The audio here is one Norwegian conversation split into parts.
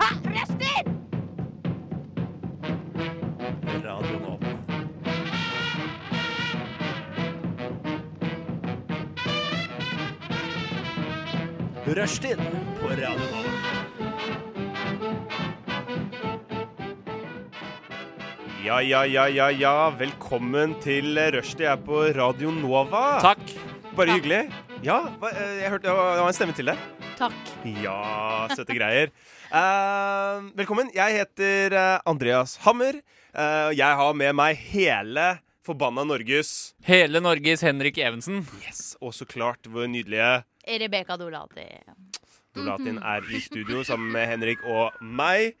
arrestet! Radio Nova. Rushtid på Radio Nova. Ja, ja, ja, ja, ja. Velkommen til Rushtid her på Radio Nova. Takk. Bare hyggelig. Ja, hva- eh, jeg hørte det var det var en stemme til der. Takk. Ja, søte greier. Eh, velkommen. Jeg heter eh, Andreas Hammer. eh, og jeg har med meg hele forbanna Norges Hele Norges Henrik Evensen. Yes, og så klart vår nydelige Rebekka Dolati. Mhm. Dolatin er i studio sammen med Henrik og meg.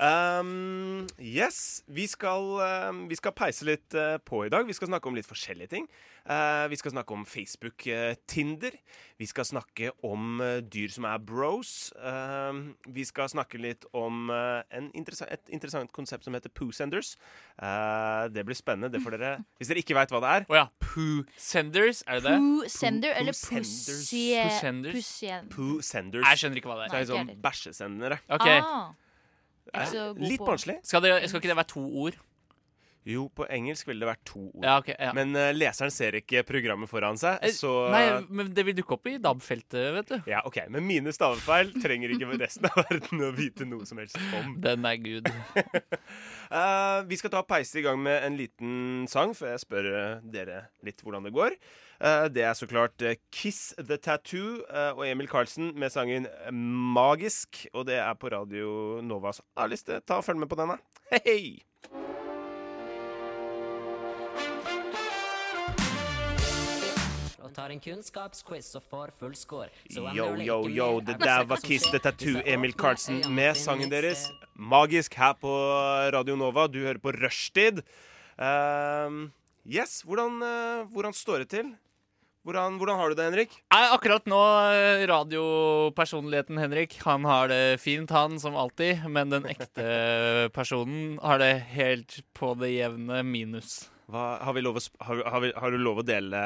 Um, yes, vi skal, um, vi skal peise litt eh, på i dag. Vi skal snakke om litt forskjellige ting. Eh, vi skal snakke om Facebook, eh, Tinder. Vi skal snakke om eh, dyr som er bros. Um, vi skal snakke litt om eh, en interessa- et interessant konsept som heter Poo Senders. Eh, det blir spennende. Det får dere, hvis dere ikke veit hva det er Å ja. Poo Senders, er det det? Poo Sender eller Poo Senders. Poo Pussie... Senders. Pussien. Poo Senders. Jeg skjønner ikke hva det det er. Nei. er sånn bæsjesendere. Ok, Ah, jeg er ikke så god Litt på- barnslig. skal, det, skal ikke det være to ord? Jo, på engelsk ville det vært to ord. Ja, ok. Ja. Men eh, leseren ser ikke programmet foran seg, Eh, så Nei, men det vil dukke opp i DAB-feltet, vet du. Ja, ok, Men mine stavefeil trenger ikke resten av verden å vite noe som helst om. Den er good. Eh, vi skal ta peise i gang med en liten sang, for jeg spør eh, dere litt hvordan det går. Eh, det er så klart eh, Kiss The Tattoo eh, og Emil Karlsen med sangen Magisk. Og det er på Radio Novas A-liste. Ta og Følg med på den, da. Hei, hei! og tar en kunnskapsquiz og får full score. Så han Yo, nøler yo, ikke yo, mer det enn der han var som Kiss skjer. the Tattoo, Disse Emil åpne Karlsen øyene med finnes sangen deres. det. Magisk her på Radio Nova. Du hører på Rushtid. Ehm, yes, hvordan, eh, hvordan står det til? Hvordan, hvordan har du det, Henrik? Nei, akkurat nå, eh, radiopersonligheten Henrik, han har det fint, han, som alltid. Men den ekte personen har det helt på det jevne minus. Hva, har, vi lov å, sp- har, har, vi, har du lov å dele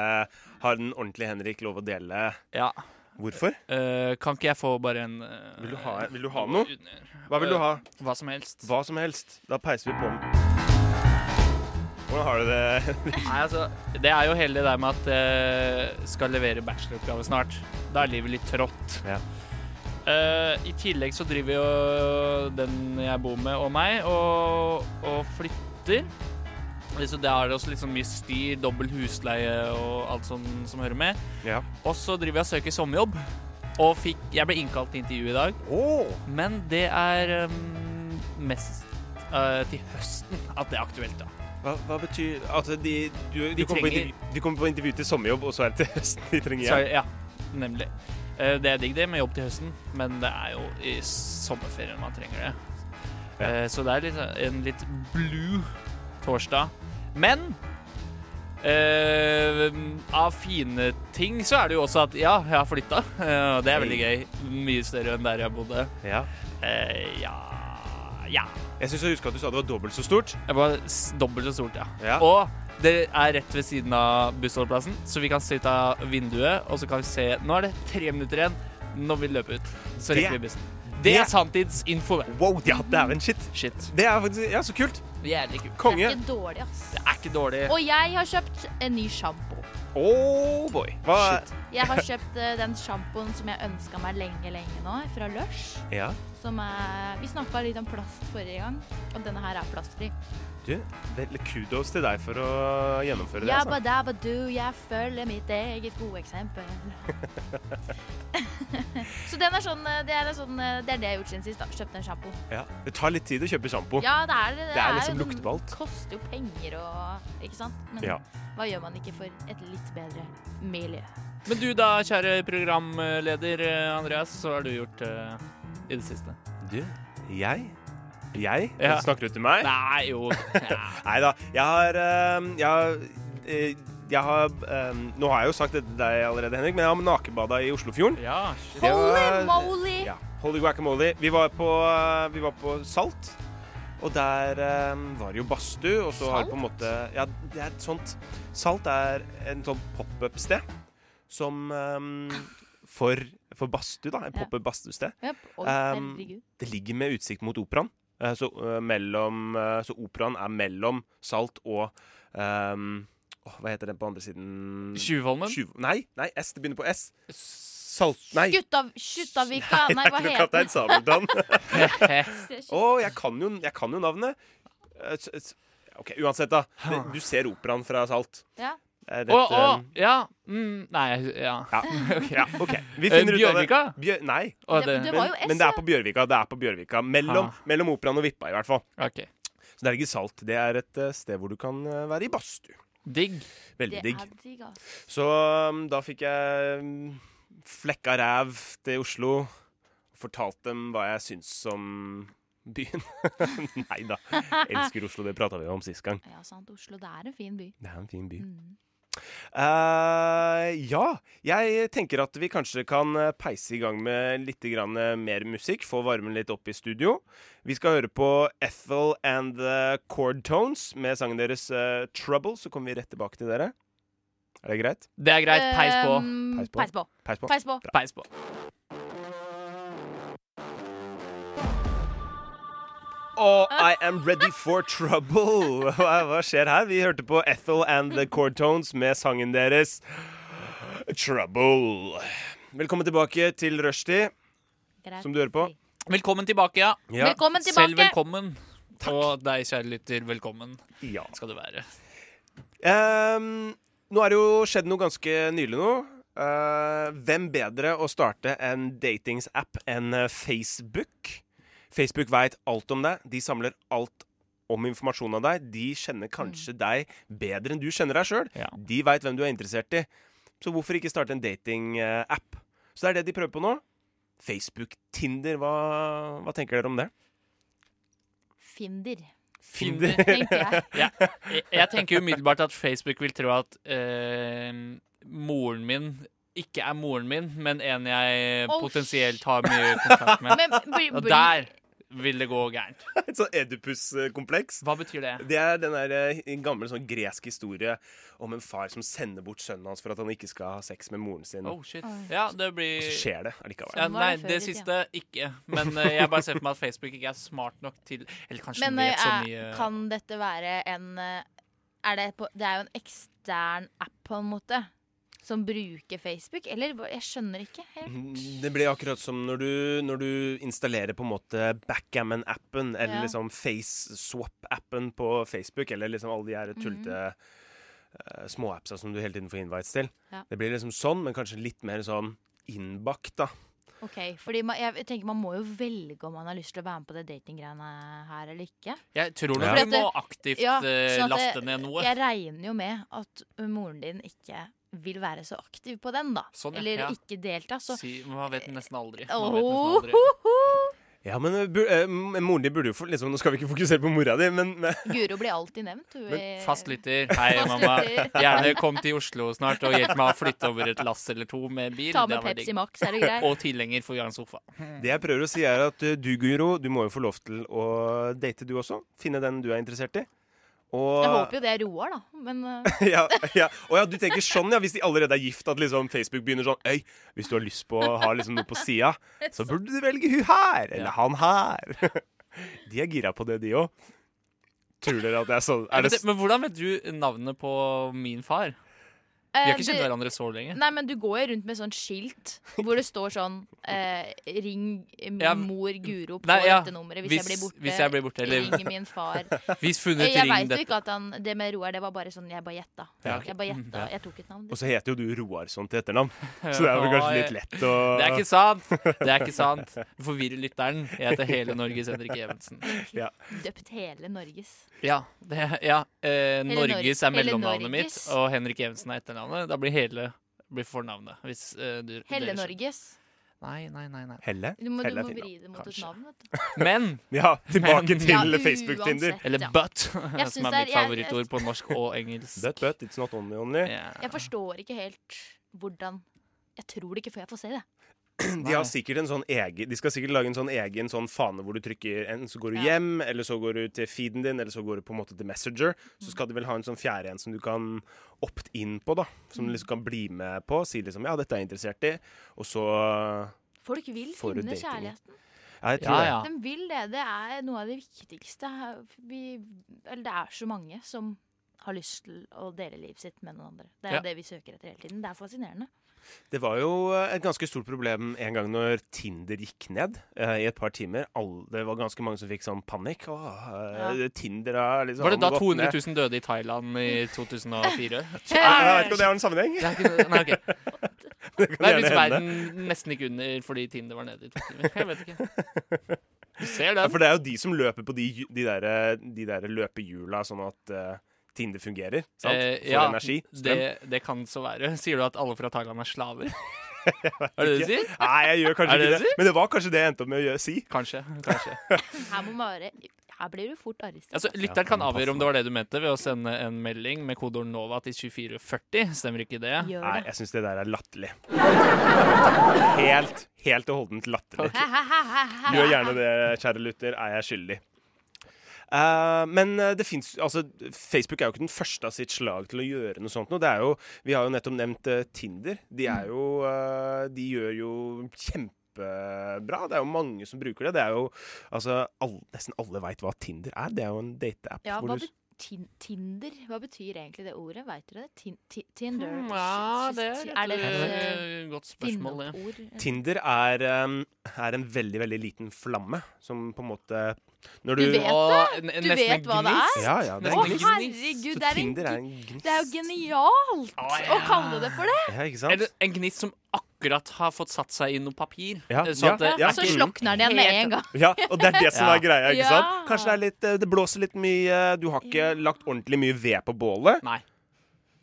Har den ordentlige Henrik lov å dele Ja. Hvorfor? eh, kan ikke jeg få bare en eh, Vil du ha, vil du ha noe? Hva vil du ha? Hva som helst. Hva som helst. Da peiser vi på. Hvordan har du det? Nei, altså, Det er jo heldig det med at jeg skal levere bacheloroppgave snart. Da er livet litt trått. Ja. Eh, I tillegg så driver jo den jeg bor med og meg, og, og flytter. Så det er det også litt sånn mye styr, dobbel husleie og alt sånn som hører med. ja. Og så driver jeg og søker sommerjobb. Og fikk, jeg ble innkalt til intervju i dag, Åh, men det er eh, mest eh, til høsten at det er aktuelt, da. Hva, hva betyr Altså, de, du, du, kommer på trenger- intervju, du kommer på intervju til sommerjobb, og så er det til høsten de trenger Så, hjelp. ja, nemlig. Eh, Det er digg det med jobb til høsten, men det er jo i sommerferien man trenger det. Ja. Eh, Så det er litt, en litt blue torsdag. Men eh, av fine ting så er det jo også at ja, jeg har flytta. eh, Og det er veldig gøy. Mye større enn der jeg bodde. Ja. Eh, ja Ja. Jeg syns jeg husker at du sa det var dobbelt så stort. Det var s- dobbelt så stort, ja. Ja. Og det er rett ved siden av bussholdeplassen, så vi kan se ut av vinduet, og så kan vi se Nå er det tre minutter igjen. Når vi løper ut, så Det- rekker vi bussen. Det, det- er sanntidsinfo, det. Wow, ja, dæven shit. Shit. Det er faktisk Ja, så kult. Jævlig kult. Det Konge. er ikke dårlig, ass. Det er ikke dårlig. Og jeg har kjøpt en ny sjampo. Oh boy. Hva Shit. Jeg har kjøpt eh, den sjampoen som jeg ønska meg lenge, lenge nå, fra Lush. Ja, Som er Vi snakka litt om plast forrige gang, og denne her er plastfri. du. Vel, kudos til deg for å gjennomføre det. altså. Jabba dabba do, jeg følger mitt eget gode eksempel. så den er sånn, eh, det er, en sånn eh, det er det jeg har gjort siden sist. da, Kjøpt en sjampo. Ja. Det tar litt tid å kjøpe sjampo. Ja, det er det. Det er liksom jo- lukter på alt. Koster jo penger og Ikke sant? Men Ja. hva gjør man ikke for et litt bedre miljø? Men du da, kjære programleder eh, Andreas, så har du gjort eh, i det siste? Du, jeg Jeg? Ja. Snakker du til meg? Nei, jo ja. Nei da. Jeg har ehm, Jeg har, eh, jeg har ehm, Nå har jeg jo sagt dette til deg allerede, Henrik, men jeg har nakenbada i Oslofjorden. ja, shit. Det Holy var- moly! Ja. Holy guacamole. Vi var på, eh, vi var på Salt. Og der eh, var det jo badstue, og så har det på en måte Ja, det er et sånt Salt er en sånn pop-up-sted som eh, for for badstue, da. En Ja. pop-up badstuested. Yep. Oi, Um, herregud. Det ligger med utsikt mot operaen. Eh, Så, eh, mellom, eh, så operaen er mellom Salt og ehm, åh, Hva heter den på andre siden? Tjuvholmen? Tjuv- Nei, nei, S. Det begynner på S. Salt... Nei. Skuttav- Skuttavika! Nei, hva det er ikke noe heter Kaptein den? Sabeltann. Heh. Å, jeg kan jo, jeg kan jo navnet. Eh, s- s- OK, uansett, da. Det- Du ser operaen fra Salt. Ja. Eh, Rett, Å, å, eh, ja. Mm, nei, ja. Ja. ja, OK. Vi Eh, finner ut av det. Bjørvika? Bjør, nei, Å, Det- det, det- var men, jo S, men det er ja. på Bjørvika. Det er på Bjørvika. Mellom, Ah. mellom operaen og Vippa, i hvert fall. OK. Så det er ikke Salt. Det er et eh, sted hvor du kan eh, være i badstue. Digg. Det Veldig er digg. digg, ass. Så um, da fikk jeg um, flekka ræv til Oslo. Fortalt dem hva jeg syns om byen. Nei da. Elsker Oslo, det prata vi jo om sist gang. Ja, sant. Oslo, det er en fin by. Det er en fin by. Mm. Eh, ja, jeg tenker at vi kanskje kan eh, peise i gang med litt grann eh, mer musikk. Få varmen litt opp i studio. Vi skal høre på Ethel and the Chord Tones med sangen deres eh, 'Trouble'. Så kommer vi rett tilbake til dere. Er det greit? Det er greit. Peis på. Um, Peis på. Peis på. Peis på. Peis på. Peis på. Og I am ready for trouble. Hva, hva skjer her? Vi hørte på Ethel and the Chord Tones med sangen deres Trouble. Velkommen tilbake til rushtid, Greit. som du hører på. Velkommen tilbake, ja. Ja. Velkommen Selv tilbake! velkommen. Og deg, kjære lytter, velkommen ja. skal du være. Ehm, nå er det jo skjedd noe ganske nylig nå. Eh, hvem bedre å starte en datingsapp enn eh, Facebook? Facebook veit alt om deg. De samler alt om informasjon av deg. De kjenner kanskje deg bedre enn du kjenner deg sjøl. Ja. De veit hvem du er interessert i. Så hvorfor ikke starte en datingapp? Så det er det de prøver på nå. Facebook, Tinder, hva, hva tenker dere om det? Finder, Tinder. tenker jeg. Jeg, jeg tenker umiddelbart at Facebook vil tro at eh, moren min ikke er moren min, men en jeg Oh, potensielt har mye kontakt med. Men blir, Og blir, der vil det gå gærent. Et sånn Edipus-kompleks. Hva betyr det? Det er den der, eh, en gammel sånn gresk historie om en far som sender bort sønnen hans for at han ikke skal ha sex med moren sin. Oh, shit. Oi. Ja, det Og blir så skjer det allikevel. ja, Sånn var Nei, det før det i tida. siste ikke. Men eh, jeg bare ser for meg at Facebook ikke er smart nok til Eller kanskje men den vet så eh, mye kan dette være en eh, er det, på, det er jo en ekstern app, på en måte, som bruker Facebook, eller? hva- Jeg skjønner ikke helt. Mhm. Mhm. Det blir akkurat som når du, når du installerer på en måte backgammon-appen eller Ja. liksom FaceSwap-appen på Facebook, eller liksom alle de Mhm. her tullete eh, småappsa som du hele tiden får invites til. Ja. Det blir liksom sånn, men kanskje litt mer sånn innbakt, da. Ok, fordi man, jeg tenker man må jo velge om man har lyst til å være med på det datinggreiene her eller ikke. Jeg Ja. tror nok Fordi du at det- må aktivt Ja, eh, sånn at det- laste ned noe. Jeg regner jo med at moren din ikke vil være så aktiv på den, da. Sånn, ja. Eller Ja. ikke delta. Så Si, man vet nesten aldri. Man vet nesten oh, aldri. Ja, men eh, bur, eh, moren din burde jo få liksom, Nå skal vi ikke fokusere på mora di, men, men Guro blir alltid nevnt. Hun i- Fast lytter. Hei, Fast mamma. lytter. Gjerne kom til Oslo snart og hjelp meg å flytte over et lass eller to med bil. Ta Det med hadde vært Pepsi digg. Max, er det greit? Og tilhenger for Jan Sofa. Det jeg prøver å si er at eh, du, Guro, du må jo få lov til å date du også. Finne den du er interessert i. Og, Jeg håper jo det er Roar, da. Men eh, ja, ja. Å ja, du tenker sånn, ja. Hvis de allerede er gift, at liksom Facebook begynner sånn Øy, hvis du har lyst på å ha liksom noe på sida, så burde du velge hun her, eller Ja. han her. De er gira på det, de òg. Tror dere at det er sånn er det, Men, men hvordan vet du navnet på min far? Vi eh, har ikke kjent du- hverandre så lenge. Nei, men du går jo rundt med sånn skilt hvor det står sånn eh, Ring min Ja, men- mor Guro på Nei, ja, dette nummeret Hvis, hvis, jeg blir borte. hvis jeg blir borte, eller Ring min far. hvis funnet, Jeg ring veit jo dette. ikke at han Det med Roar, det var bare sånn Jeg bare gjetta. Ja, ok. Jeg bare gjetta. Ja. Jeg tok et navn. Og så heter jo du Roarsson til etternavn, så det er vel kanskje litt lett å Det er ikke sant! Det er ikke sant. Du forvirrer lytteren. Jeg heter Hele Norges Henrik Evensen. Døpt hele Norges. Ja, det, ja. Eh, Nor- Norges er Hele mellomnavnet mitt, Norges. og Henrik Evensen er etternavnet. Da blir hele blir fornavnet. Hvis, eh, du, Helle dere skjønner. Norges. Nei, nei, nei, nei. Helle? Du må, du Helle er må fin, da. vri det mot et Kanskje. navn. Vet du. Men Ja, tilbake Men- til Ja, Facebook-Tinder. uansett, Eller ja. but, synes som er det er- mitt jeg- favorittord på norsk og engelsk. But, but, it's not only only. Ja. Jeg forstår ikke helt hvordan Jeg tror det ikke før jeg får se det. De har sikkert en sånn egen De skal sikkert lage en sånn egen sånn fane hvor du trykker Enten så går du Ja. hjem, eller så går du til feeden din, eller så går du på en måte til Messenger. Så skal de vel ha en sånn fjerde en som du kan opt in på, da. Som du liksom kan bli med på. Si liksom 'ja, dette er jeg interessert i', og så Folk vil Får du finne dating? kjærligheten. Ja, jeg tror Ja, det. ja. De vil det. Det er noe av det viktigste. Vi, eller det er så mange som har lyst til å dele livet sitt med noen andre. Det er Ja. jo det vi søker etter hele tiden. Det er fascinerende. Det var jo eh, et ganske stort problem en gang når Tinder gikk ned eh, i et par timer. Alle, det var ganske mange som fikk sånn panikk. Åh, eh, Tinder har liksom Var det da gått 200 ned. 000 døde i Thailand i 2004? Jeg vet ikke om det har en sammenheng. Det er ikke, nei, ok. Det kan Nei, gjerne hvis hende. verden nesten gikk under fordi Tinder var nede i to timer. Jeg vet ikke. Du ser Ja, den. for det er jo de som løper på de, hj- de der, de der løpehjula, sånn at eh, Tinder fungerer. Sant? Eh, Får ja, energi. Det, Strøm. det kan så være. Sier du at alle fra Thailand er slaver? Er det det du sier? Nei, jeg gjør kanskje Er det ikke det du det. Men det var kanskje det jeg endte opp med å gjøre, si. Kanskje. kanskje. Her, må man være, her blir du fort arrestert. Altså, lytteren kan avgjøre om det var det du mente, ved å sende en melding med kodeord NOVA til 2440. Stemmer ikke det? Gjør Nei, det. jeg syns det der er latterlig. Helt, helt og holdent latterlig. Gjør gjerne det, kjære lytter. Er jeg skyldig? Eh, men eh, det finnes, altså, Facebook er jo ikke den første av sitt slag til å gjøre noe sånt. Nå. Det er jo, vi har jo nettopp nevnt eh, Tinder. De, er jo, eh, de gjør jo kjempebra. Det er jo mange som bruker det. Det er jo, altså, all, Nesten alle veit hva Tinder er. Det er jo en dateapp. Ja, hvor hva du- bet tin Tinder? Hva betyr egentlig det ordet? Veit dere det? Tin ti Tinder? Hmm, Ja, det Er er det et eh, et godt spørsmål, det. finneord? Tinder er, eh, er en veldig, veldig liten flamme som på en måte Når du, Du vet- Og n- Du nesten vet hva det gnist. er? Ja, ja, det Å, er en gnist. herregud! Det Så er, en, Tinder er gni- en gnist. det er jo genialt å kalle det for det! Ja, ikke sant? Eller en gnist som akkurat har fått satt seg i noe papir. Ja, Eh, sånn at ja, det ja. er Så ikke- Mm. Altså, slokner den igjen med Helt- en gang. Ja, og det er det som Ja. er greia. ikke Ja. sant? Kanskje det, er litt, eh, det blåser litt mye, du har ikke lagt ordentlig mye ved på bålet. Nei,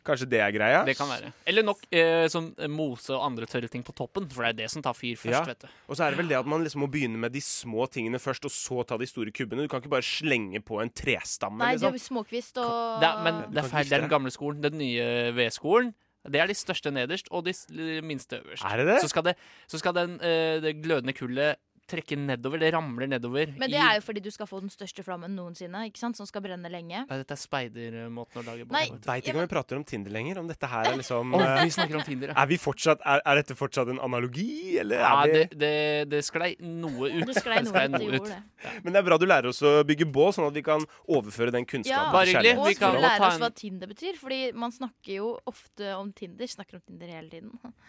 Kanskje det er greia? det kan være. Eller nok eh, sånn mose og andre tørre ting på toppen, for det er det som tar fyr først, Ja. vet du. Og så er det vel det at man liksom må begynne med de små tingene først, og så ta de store kubbene. Du kan ikke bare slenge på en trestamme. Nei, liksom. du, småkvist og Det er, men Du det kan er feil. Det er gifte deg. den gamle skolen. Den nye V-skolen. Det er de største nederst, og de s- minste øverst. Er det det? Så skal, det, så skal den, eh, det glødende kullet trekke nedover. Det ramler nedover. Men det er jo fordi du skal få den største flammen noensinne, ikke sant? som skal brenne lenge. Nei, dette er speidermåten å lage bål Nei. på. vet du. Veit ikke om vi prater om Tinder lenger. Om dette her er liksom Å, eh, vi snakker om Tinder, ja. Er, vi fortsatt, er, er dette fortsatt en analogi, eller ja er vi det, det, det sklei noe ut. Det sklei noe ut. Det gjorde det. Men det er bra du lærer oss å bygge bål, sånn at vi kan overføre den kunnskapen. Ja. Bare til hyggelig. kjærligheten. Og Vi skal kan vi godt lære ta oss en- hva Tinder betyr? Fordi man snakker jo ofte om Tinder. Snakker om Tinder hele tiden.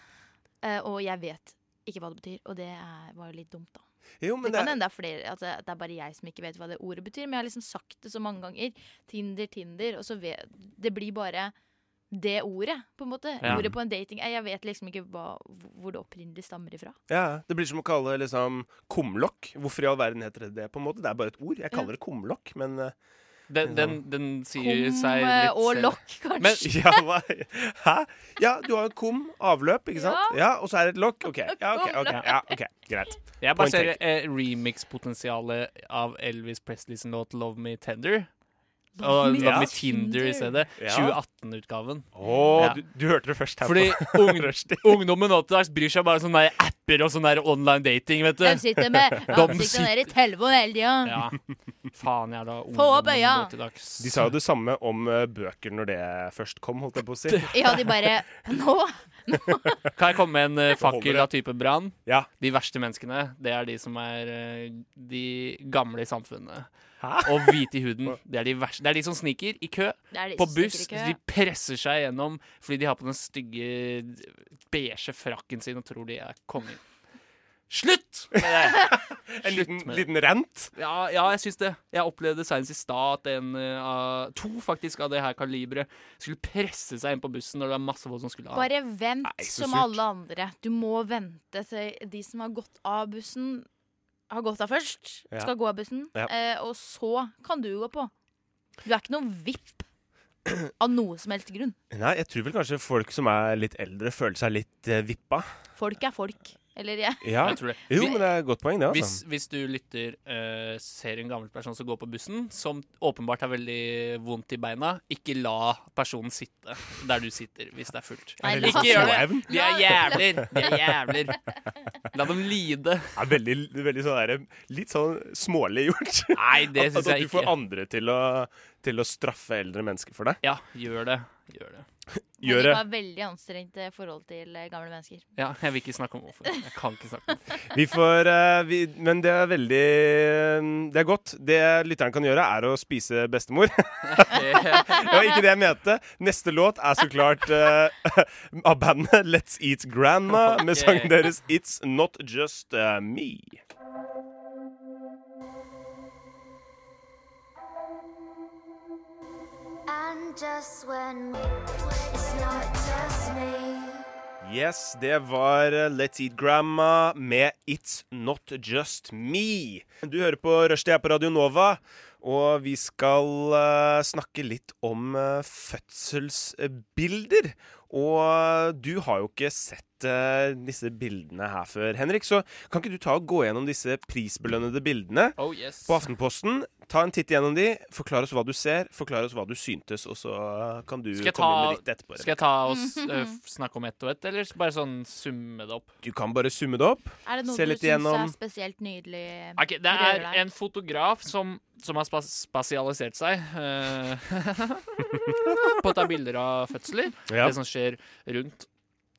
Eh, og jeg vet ikke hva det betyr, og det er, var jo litt dumt, da. Jo, men det kan det, hende det er flere, at det, det er bare jeg som ikke vet hva det ordet betyr, men jeg har liksom sagt det så mange ganger. Tinder, Tinder, og så vet Det blir bare det ordet, på en måte. Ja. Ordet på en dating Jeg vet liksom ikke hva, hvor det opprinnelig stammer ifra. ja, det blir som å kalle liksom kumlokk. Hvorfor i all verden heter det det? på en måte? Det er bare et ord. Jeg kaller det kumlokk, men eh, Den, den, den sier Kom seg eh, litt og selv. lokk, kanskje. Men- Ja, hva? Hæ? Ja, du har jo kum, avløp, ikke sant? Ja, og så er det et lokk. OK. Ja, ok, ok, ja, ok, Greit. Jeg Point bare ser eh, remix-potensialet av Elvis Presleys låt 'Love Me Tender'. Og Me Love Me Tinder. Tinder i stedet. Ja. 2018-utgaven. Å, du, du hørte det først her. Fordi på- ung, Rushdie. ungdommen nå til dags bryr seg bare om sånne der apper og sånn der online dating, vet De du. sitter med ansiktet sitter- ned i telefonen hele tida. Ja. Faen jævla opp ungdommen øya. nå til dags. De sa jo det samme om eh, bøker når det først kom, holdt jeg på å si. Ja, de bare Nå! Kan jeg komme med en eh, holder fakkel det. av type brann? Ja. De verste menneskene, det er de som er eh, de gamle i samfunnet. Hæ? Og hvite i huden. Det er de, verste. det er de som sniker i kø. Det er de på som stikker buss. i kø. De presser seg gjennom fordi de har på den stygge beige frakken sin og tror de er kongen. Slutt med det! En liten, Slutt med det. liten rent. Ja, ja, jeg syns det. Jeg opplevde senest i stad at en eh, av to faktisk av det her kaliberet skulle presse seg inn på bussen når det var masse folk som skulle av. Bare vent Nei, så som surt. alle andre. Du må vente til de som har gått av bussen, har gått av først. Ja. Skal gå av bussen. Ja. Eh, og så kan du gå på. Du er ikke noen vipp av noe som helst grunn. Nei, jeg tror vel kanskje folk som er litt eldre, føler seg litt eh, vippa. Folk er folk. Eller jeg. Ja. Jeg tror det. Jo, men det er et godt poeng, det, Hvis, altså. hvis du lytter eh, ser en gammel person som går på bussen, som åpenbart har veldig vondt i beina, ikke la personen sitte der du sitter hvis det er fullt. Nei, Litt la- Ikke gjør det. småevn. De er jævler! De er jævler. La dem lide. er veldig, veldig sånn der, litt sånn smålig gjort. Nei, det At- syns at Altså, jeg du får ikke. andre til å, til å straffe eldre mennesker for det. Ja, gjør det. Gjør det. Gjør det det. var veldig anstrengt eh, forhold til eh, gamle mennesker. Ja, jeg vil ikke snakke om hvorfor. Jeg kan ikke snakke om hvorfor. Vi får, eh, vi, men det er veldig Det er godt. Det lytteren kan gjøre, er å spise bestemor. Det var ikke det jeg mente. Neste låt er så klart eh, av bandet Let's Eat Grandma med sangen deres It's Not Just eh, Me. And just when it's not just me. Yes, det var eh, Let's Eat Grandma med It's Not Just Me. Du hører på Rushdie her på Radio Nova, og vi skal eh, snakke litt om eh, fødselsbilder. Og eh, du har jo ikke sett eh, disse bildene her før, Henrik, så kan ikke du ta og gå gjennom disse prisbelønnede bildene? Oh yes. på Aftenposten. Ta en titt gjennom de, forklar oss hva du ser, forklar oss hva du syntes, og så eh, kan du Skal jeg komme ta- inn med ditt etterpå. Skal jeg ta og s- øh, f- snakke om ett og ett, eller bare sånn summe det opp? Du kan bare summe det opp. Er det noe Se du litt syns igjennom. er spesielt nydelig? Ok, det Rører er deg. en fotograf som, som har spas spasialisert seg øh, på å ta bilder av fødsler. Ja. Det som skjer rundt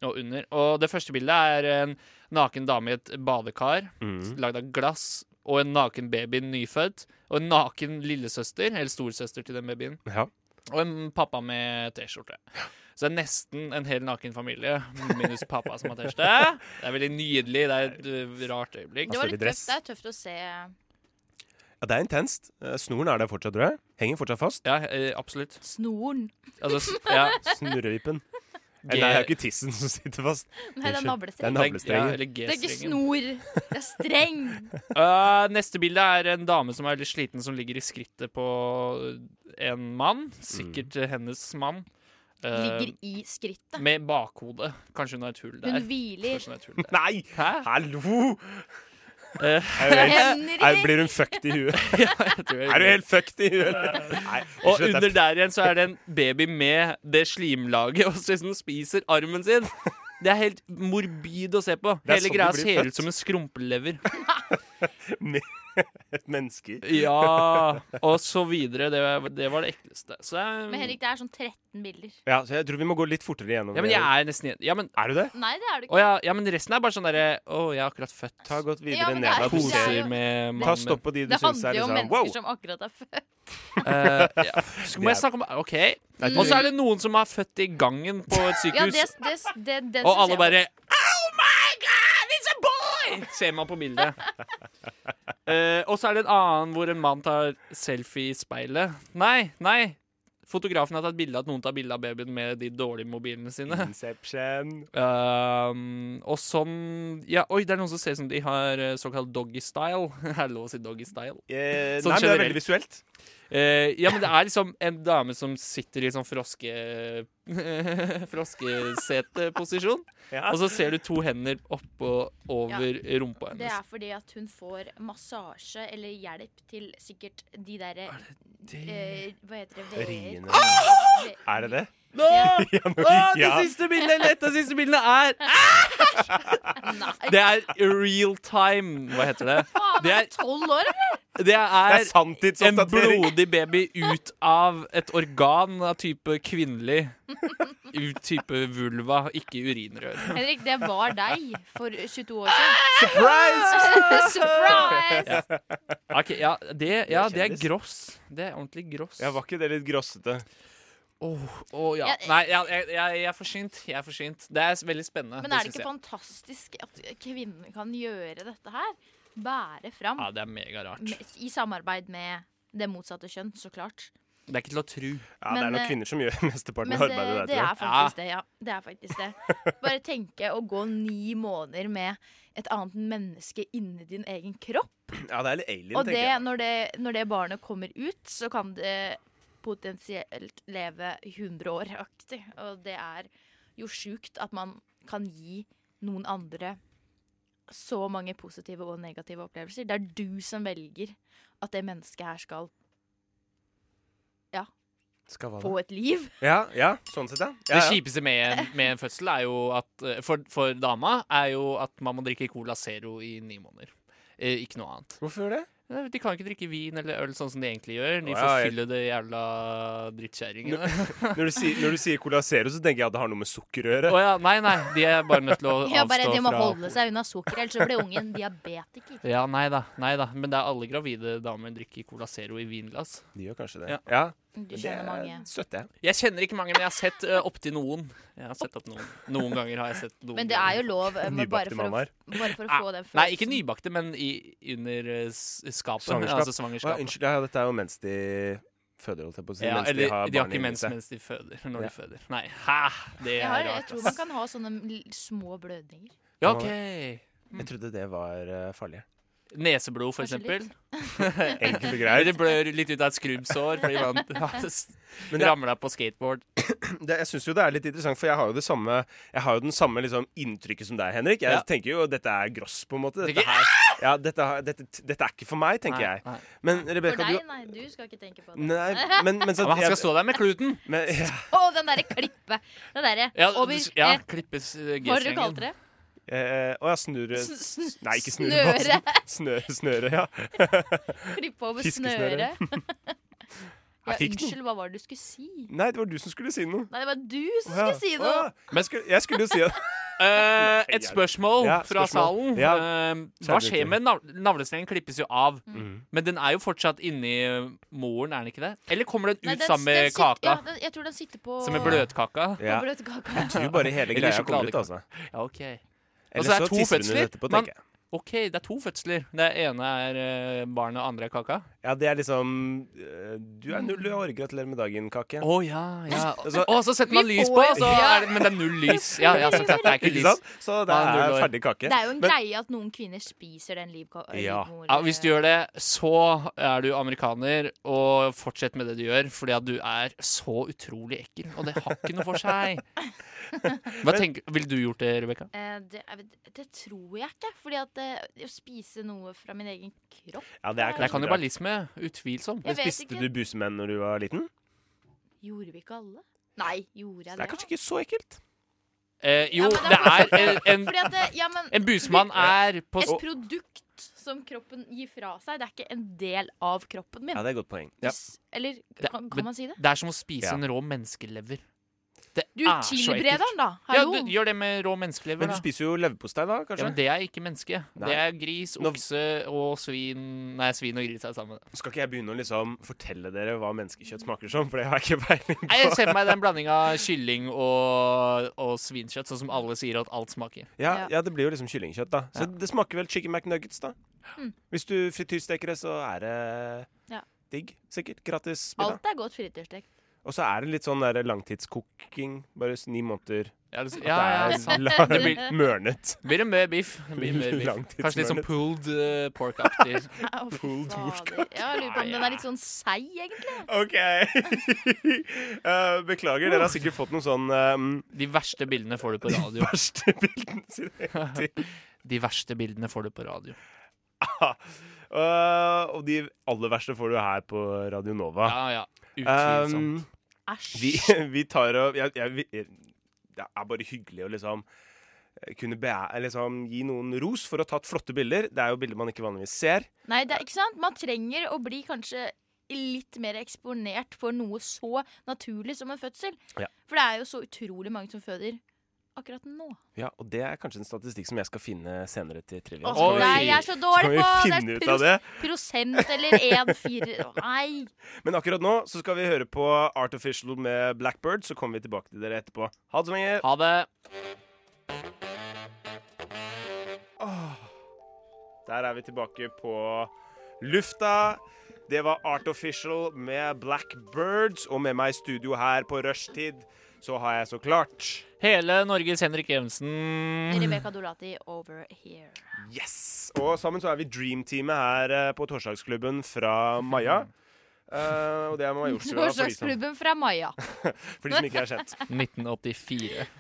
og under. Og det første bildet er en naken dame i et badekar Mm. lagd av glass. Og en naken baby nyfødt. Og en naken lillesøster, eller storesøster til den babyen. Ja. Og en pappa med T-skjorte. Så det er nesten en hel naken familie, minus pappa som har T-skjorte. Det er veldig nydelig. Det er et øh, rart øyeblikk. Det, Altså, var i litt dress. tøft, det er tøft å se. ja, det er intenst. Eh, Snoren er der fortsatt, tror jeg. Henger fortsatt fast. Ja, eh, absolutt. Snoren. Altså, s- ja. Snurrevipen. G- Eller Nei, det er jo ikke tissen som sitter fast. Nei, Unnskyld. Det det er er Ja, navlestreng. navlestrengen. eller Det er ikke G-strengen. snor, det er streng. Øh, neste bilde er en dame som er veldig sliten, som ligger i skrittet på eh, en mann. Sikkert Mm. eh, hennes mann. Eh, Ligger i skrittet. Med bakhodet. Kanskje hun har et hull der. Hun hviler. Kanskje hun har et hull der. Nei! Hæ? Hallo! Eh, Er du helt, er, Henrik! blir hun fucked i huet? jeg tror jeg Er du helt fucked i huet? Nei, og unnskyld, under det er- der igjen så er det en baby med det slimlaget, og så hun spiser armen sin. Det er helt morbid å se på. Det er Hele sånn du greia blir ser født. ut som en skrumpelever. et menneske. Ja, og så videre. Det, var- det var det ekleste. Så eh, det er, Men Henrik, det er sånn 13 bilder. Ja, så jeg tror vi må gå litt fortere gjennom ja, men det. jeg er nesten Ja, men, Er du det? Nei, det er å, det ikke. ja, ja, men resten er bare sånn derre Å, jeg er akkurat født. Ta godt videre Ja, men det ned er- av det er jo- poser. Poser med Ta stopp på de du Det syns er handler jo om liksom mennesker wow. som akkurat er født. Eh, ja. Så må jeg snakke om OK. er Og så er det noen som er født i gangen på et Ja, sykehus, det, det, det, det og synes alle jeg- bare Oh my god, it's a boy! Ser man på bildet. Eh, og så er det en annen hvor en mann tar selfie i speilet. Nei, nei. Fotografen har tatt bilde av at noen tar bilde av babyen med de dårlige mobilene sine. Mm. Inception. Um, og sånn Ja, oi, det er noen som ser ut som de har eh, såkalt doggy style. er det lov å si doggy style? Eh, Sånn nei, men det er generelt. veldig visuelt. Eh, ja, men det er liksom en dame som sitter i sånn froske... froskeseteposisjon. Og så ser du to hender oppå over rumpa Det hennes. er fordi at hun får massasje eller hjelp til sikkert de derre eh, Hva heter det? veer? Riene. Ve- Er det det? Nå! Ja, nå- Å, det ja. siste bildet! eller Et av de siste bildene er Nei, Det er real time. Hva heter det? faen, det er er- du tolv år, eller? Det Det er er sånn en sanntidsoppdatering. blodig baby ut av et organ av type kvinnelig. Ut Type vulva, ikke urinrør. Henrik, det var deg for 22 år siden. Surprise! Surprise! Ok, ja, det, ja, det er kjendis. gross. Det er ordentlig gross. Ja, var ikke det litt grossete? Åh, åh, ja. Ja, Nei, jeg, jeg, jeg, jeg er forsynt. Jeg er forsynt. Det er s- veldig spennende. Men er det synes ikke jeg. fantastisk at kvinnen kan gjøre dette her? Bære fram Ja, det er megarart. med- i samarbeid med det motsatte kjønn, så klart. Det er ikke til å tru. Ja, det er Men, nok eh, kvinner som gjør mesteparten Men av det, arbeidet det der, er tror jeg. faktisk det, ja. Det er faktisk det. Bare tenke å gå ni måneder med et annet menneske inni din egen kropp. Ja, det er litt alien, Og det, tenker jeg. når, det, når det barnet kommer ut, så kan det potensielt leve 100 år aktig. Og det er jo sjukt at man kan gi noen andre så mange positive og negative opplevelser. Det er du som velger at det mennesket her skal Skal hva da? få et liv. Ja, ja, sånn sett, ja. ja, Det ja. kjipeste med en, med en fødsel er jo at eh, for, for dama er jo at man må drikke Cola Zero i ni måneder. Eh, ikke noe annet. Hvorfor gjør det? Eh, De kan ikke drikke vin eller øl sånn som de egentlig gjør. Å, De ja, jeg- forfyller det jævla drittkjerringene. Når du, sier, når du sier Cola Zero, så tenker jeg at det har noe med sukker å Å gjøre. ja, nei, nei. De er bare nødt til å Ja, bare avstå De må fra holde seg unna sukker, ellers så blir ungen diabetiker. Ja, nei da. Nei da. Men det er alle gravide damer drikker Cola Zero i vinglass. De gjør kanskje Ja. altså det. Ja, Du det skjønner mange. støtter jeg. Jeg kjenner ikke mange, men jeg har sett uh, opptil noen. Jeg har sett opp noen. Noen ganger har jeg sett noen. Men det er jo lov eh, Nybakte bare for, å, mammaer. bare for å få den følelsen. Ah, Nei, ikke nybakte, men i, under eh, s- skapet. Svangerskap. Å, Altså ja, svangerskapet. unnskyld, ja, dette er jo mens de føder, holdt jeg på å si. Ja, mens eller de barn har, ikke inni mens seg. mens de føder. Ja. Når de føder. Nei, hæ! Det Jeg, er har, jeg rart, tror man ass. kan ha sånne l- små blødninger. Ja, OK. Jeg trodde det var uh, farlig. Neseblod, for Kanskje eksempel. Enkelt og Eller greit. det blør litt ut av et skrubbsår fordi man Men det- ramler deg på skateboard. Det, jeg syns jo det er litt interessant, for jeg har jo det samme Jeg har jo den samme liksom, inntrykket som deg, Henrik. Jeg Ja. tenker jo dette er gross, på en måte. Tenker, Dette, her, ja, dette, har- dette, dette er ikke for meg, tenker Nei, jeg. nei. Men For Rebekka, deg, du nei, du skal ikke tenke på det. Nei, men, men så Men han skal jeg- stå der med kluten. men, ja, Å, den derre klippet. Den derre Ja, over du- ja eh, klippes eh, Hva var det du G-strengen. kalte det? eh, Å ja, snurre Sn- sn- Nei, ikke snøre. snurre. Snøre, snøre, ja. Klippet over snøre. Fiskesnøre. Ja, Jeg fikk den. unnskyld, hva var det du skulle si? Nei, det var du som skulle si noe. Nei, det var du som Å ja. skulle si noe. Å, jeg skulle- jeg skulle jo si at Eh, et Ja, spørsmål ja, fra spørsmål. salen. Ja. Eh, hva skjer med nav navlestrengen? Klippes jo av. Mm. Mm. Men den er jo fortsatt inni eh, moren, er den ikke det? Eller kommer den ut Nei, den- sammen den med sit- kaka? Ja, den, jeg tror den sitter på Som en bløtkaka? på ja. bløtkaka. Jeg tror bare hele Eller greia kommer ut, sjokoladekake. altså. Ja, OK. Eller Altså, det er så to tisser hun fødsler, ut etterpå, men- tenker jeg. Ok, Det er to fødsler. Det ene er eh, barnet, og andre er kaka. Ja, det er liksom eh, Du er null år, gratulerer med dagen, kake. Å ja. ja. Altså- Å, så setter man Vi lys får- på, så Ja. er det, men det er null lys. Ja, ja, så det er ikke Ikke lys. sant? Så det Ja, er null år. ferdig kake. Det er jo en Men- greie at noen kvinner spiser den livka- Ja. livmor- Ja, hvis du gjør det, så er du amerikaner, og fortsett med det du gjør, fordi at du er så utrolig ekkel, og det har ikke noe for seg. Hva tenker, Ville du gjort det, Rebekka? Eh, det, jeg vet- det tror jeg ikke. Fordi at eh, det å spise noe fra min egen kropp Ja, det er Det er kanskje bra. kannibalisme. Utvilsomt. Jeg Men vet spiste ikke. du busemenn når du var liten? Gjorde vi ikke alle? Nei, gjorde jeg Det er det? kanskje ikke så ekkelt. Eh, Ja, jo, men det er er en, en, Fordi at, det- ja, men en busmann er på et produkt som kroppen gir fra seg, det er ikke en del av kroppen min. Ja, det er et godt poeng. Ja. Hvis- Eller kan, kan men- man si det? Det er som å spise Ja. en rå menneskelever. Det Du er så tilbereder ekkelt. den, da. Ja, Hallo. du gjør det med rå menneskelever, Men du da. spiser jo leverpostei, da, Ja, kanskje? men det er ikke menneske. Det Nei. er gris, Nå- okse og svin Nei, svin og gris er sammen. Skal ikke jeg begynne å liksom fortelle dere hva menneskekjøtt smaker som? For det har jeg ikke peiling Nei, Jeg på. ser for meg det er en blanding av kylling og, og svinkjøtt, sånn som alle sier at alt smaker. Ja, Ja. ja, det blir jo liksom kyllingkjøtt, da. Så Ja. Mm. det smaker vel chicken McNuggets, da. Hvis du frityrsteker det, så er det Ja. digg. Sikkert. Gratis middag. Alt er godt frityrstekt. Og så er det litt sånn der langtidskoking. Bare s- ni måneder. Ja, det, Ja, ja, ja, det er sant. la- Det blir, mørnet. blir det mye biff. Det Blir mye biff. Kanskje litt sånn Langtidsmørnet. pulled eh, pork-aktig. Å, fy Pulled fader. Ja, jeg lurer på om den er litt sånn seig, egentlig. OK. Eh, beklager, dere har sikkert fått noen sånn ehm, De verste bildene får du på radio. verste bildene sine. De verste bildene får du på radio. Eh, og de aller verste får du her på Radio Nova. Ja, ja. Utvilsomt. Ehm, vi, Æsj. vi tar og jeg, jeg, vi, Det er bare hyggelig å liksom kunne be, liksom, gi noen ros for å ha tatt flotte bilder. Det er jo bilder man ikke vanligvis ser. Nei, det er ikke sant. Man trenger å bli kanskje litt mer eksponert for noe så naturlig som en fødsel. Ja. For det er jo så utrolig mange som føder akkurat nå. Ja, Og det er kanskje en statistikk som jeg skal finne senere til trivia. Skal Åh, vi- Altså, nei, jeg er så skal dårlig vi på finne det! ut er av det? Prosent eller en fire Å, Nei. Men akkurat nå så skal vi høre på Artificial med Blackbird, så kommer vi tilbake til dere etterpå. Ha det så lenge. Ha det. Der er vi tilbake på lufta. Det var Artificial med Blackbirds, og med meg i studio her på rushtid så har jeg så klart Hele Norges Henrik Evensen. Rebekka Dolati over here. Yes! Og sammen så er vi Dreamteamet her eh, på Torsdagsklubben fra Maja. Eh, og det er Majorstua for de, som, Torsdagsklubben fra Maja. for de som ikke er kjent. 1984.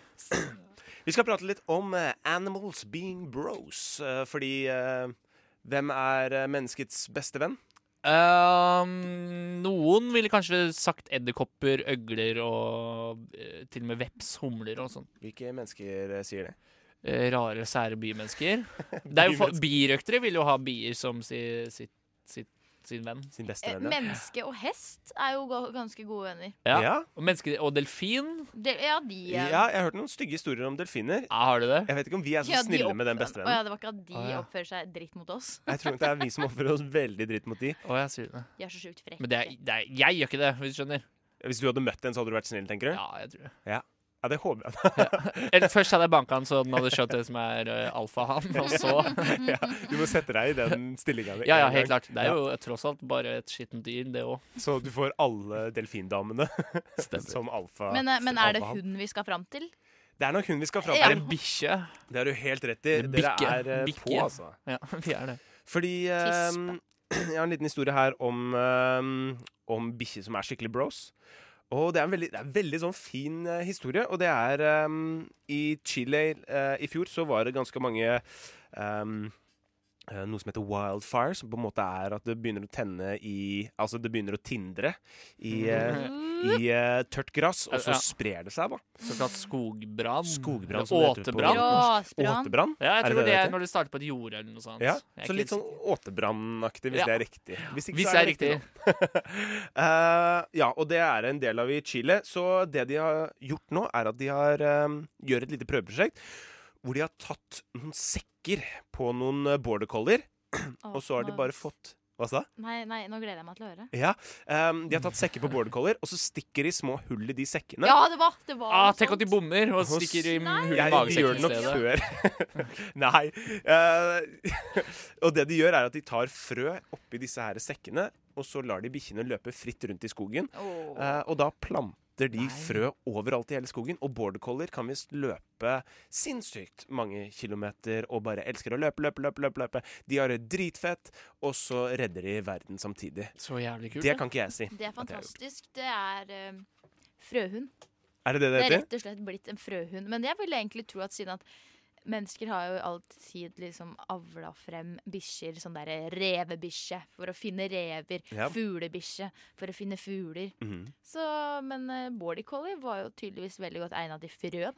Vi skal prate litt om eh, Animals Being Bros, eh, fordi eh, hvem er eh, menneskets beste venn? Ehm, noen ville kanskje sagt edderkopper, øgler og eh, til og med veps, humler og sånn. Hvilke mennesker eh, sier det? Eh, rare, sære bymennesker. Det er jo for, birøktere vil jo ha bier som si, sitt, sitt, sin venn. Sin beste Eh, venn, ja. Menneske og hest er jo ga- ganske gode venner. Ja. Ja. Og, mennesker, og delfin. De, ja, de ja, er jeg har hørt noen stygge historier om delfiner. Ja, har du det? Jeg vet ikke om vi er så Ja, de snille opp- med den Å ja, bestevennen. det var ikke at de Å, ja. oppfører seg dritt mot oss. Jeg tror nok det er vi som oppfører oss veldig dritt mot de. Å, jeg sier det. De er så sjukt frekke. Men det er, det er, jeg gjør ikke det, hvis du skjønner. Hvis du hadde møtt en, så hadde du vært snill, tenker du? Ja, jeg tror det. Ja, det håper jeg. Eller først hadde jeg banka han, så den hadde skjønt det som er uh, alfahann, og så Ja, du må sette deg i den stillinga. Ja, ja, helt klart. Det er jo tross alt bare et skittent dyr, det òg. Så du får alle delfindamene Stemmer. som alfa. Men, eh, men er det alfahann. hun vi skal fram til? Det er nok hun vi skal fram Ja. til. En bikkje. Det har du helt rett i. Det er Dere bikke. er eh, Bikke. på, altså. Ja, vi er det. Fordi eh, jeg har en liten historie her om, eh, om bikkjer som er skikkelig bros. Og det er en veldig, det er en veldig sånn fin eh, historie. Og det er eh, I Chile eh, i fjor så var det ganske mange eh, eh, noe som heter wildfire, som på en måte er at det begynner å tenne i Altså, det begynner å tindre i, eh, i eh, tørt gress, og Ja. så sprer det seg, da. Såkalt skogbrann. Skogbrann, som det heter ute på- Åtebrann. Rasbrann. Åtebrann. Ja, jeg Er det tror det, det er heter? når det starter på et jord eller noe sånt. Ja, så Jeg er ikke litt helt sånn åtebrannaktig, hvis Ja. det er riktig. Hvis ikke, sikker. Hvis så er det det er riktig. riktig. Eh, ja, og det er en del av i Chile. Så det de har gjort nå, er at de har, eh, gjør et lite prøveprosjekt hvor de har tatt noen sekker på noen eh, border collier, Å, og så har de nå- bare fått Hva sa? Nei, nei, nå gleder jeg meg til å høre. Ja, eh, de har tatt sekker på border collier, og så stikker de små hull i de sekkene. Ja, det var, det var Ah, noe tenk at de sånt. bommer og Hos- stikker i hull i Jeg, de gjør magesekken det i nok stedet. før. Nei. eh, og det de gjør, er at de tar frø oppi disse her sekkene, og så lar de bikkjene løpe fritt rundt i skogen. Åh. Eh, og da planter de frø overalt i hele skogen. Og border collier kan visst løpe sinnssykt mange kilometer og bare elsker å løpe, løpe, løpe. løpe, løpe. De har det dritfett, og så redder de verden samtidig. Så jævlig kult. Det kan ikke jeg si. Det er at jeg har gjort. fantastisk. Det er eh, frøhund. Er det det Det det er heter? rett og slett blitt en frøhund. Men jeg ville egentlig tro at siden at mennesker har jo alltid liksom avla frem bikkjer, sånn derre revebikkje for å finne rever, Ja. fuglebikkje for å finne fugler. Mhm. Så, men eh, border collie var jo tydeligvis veldig godt egna til frø. da.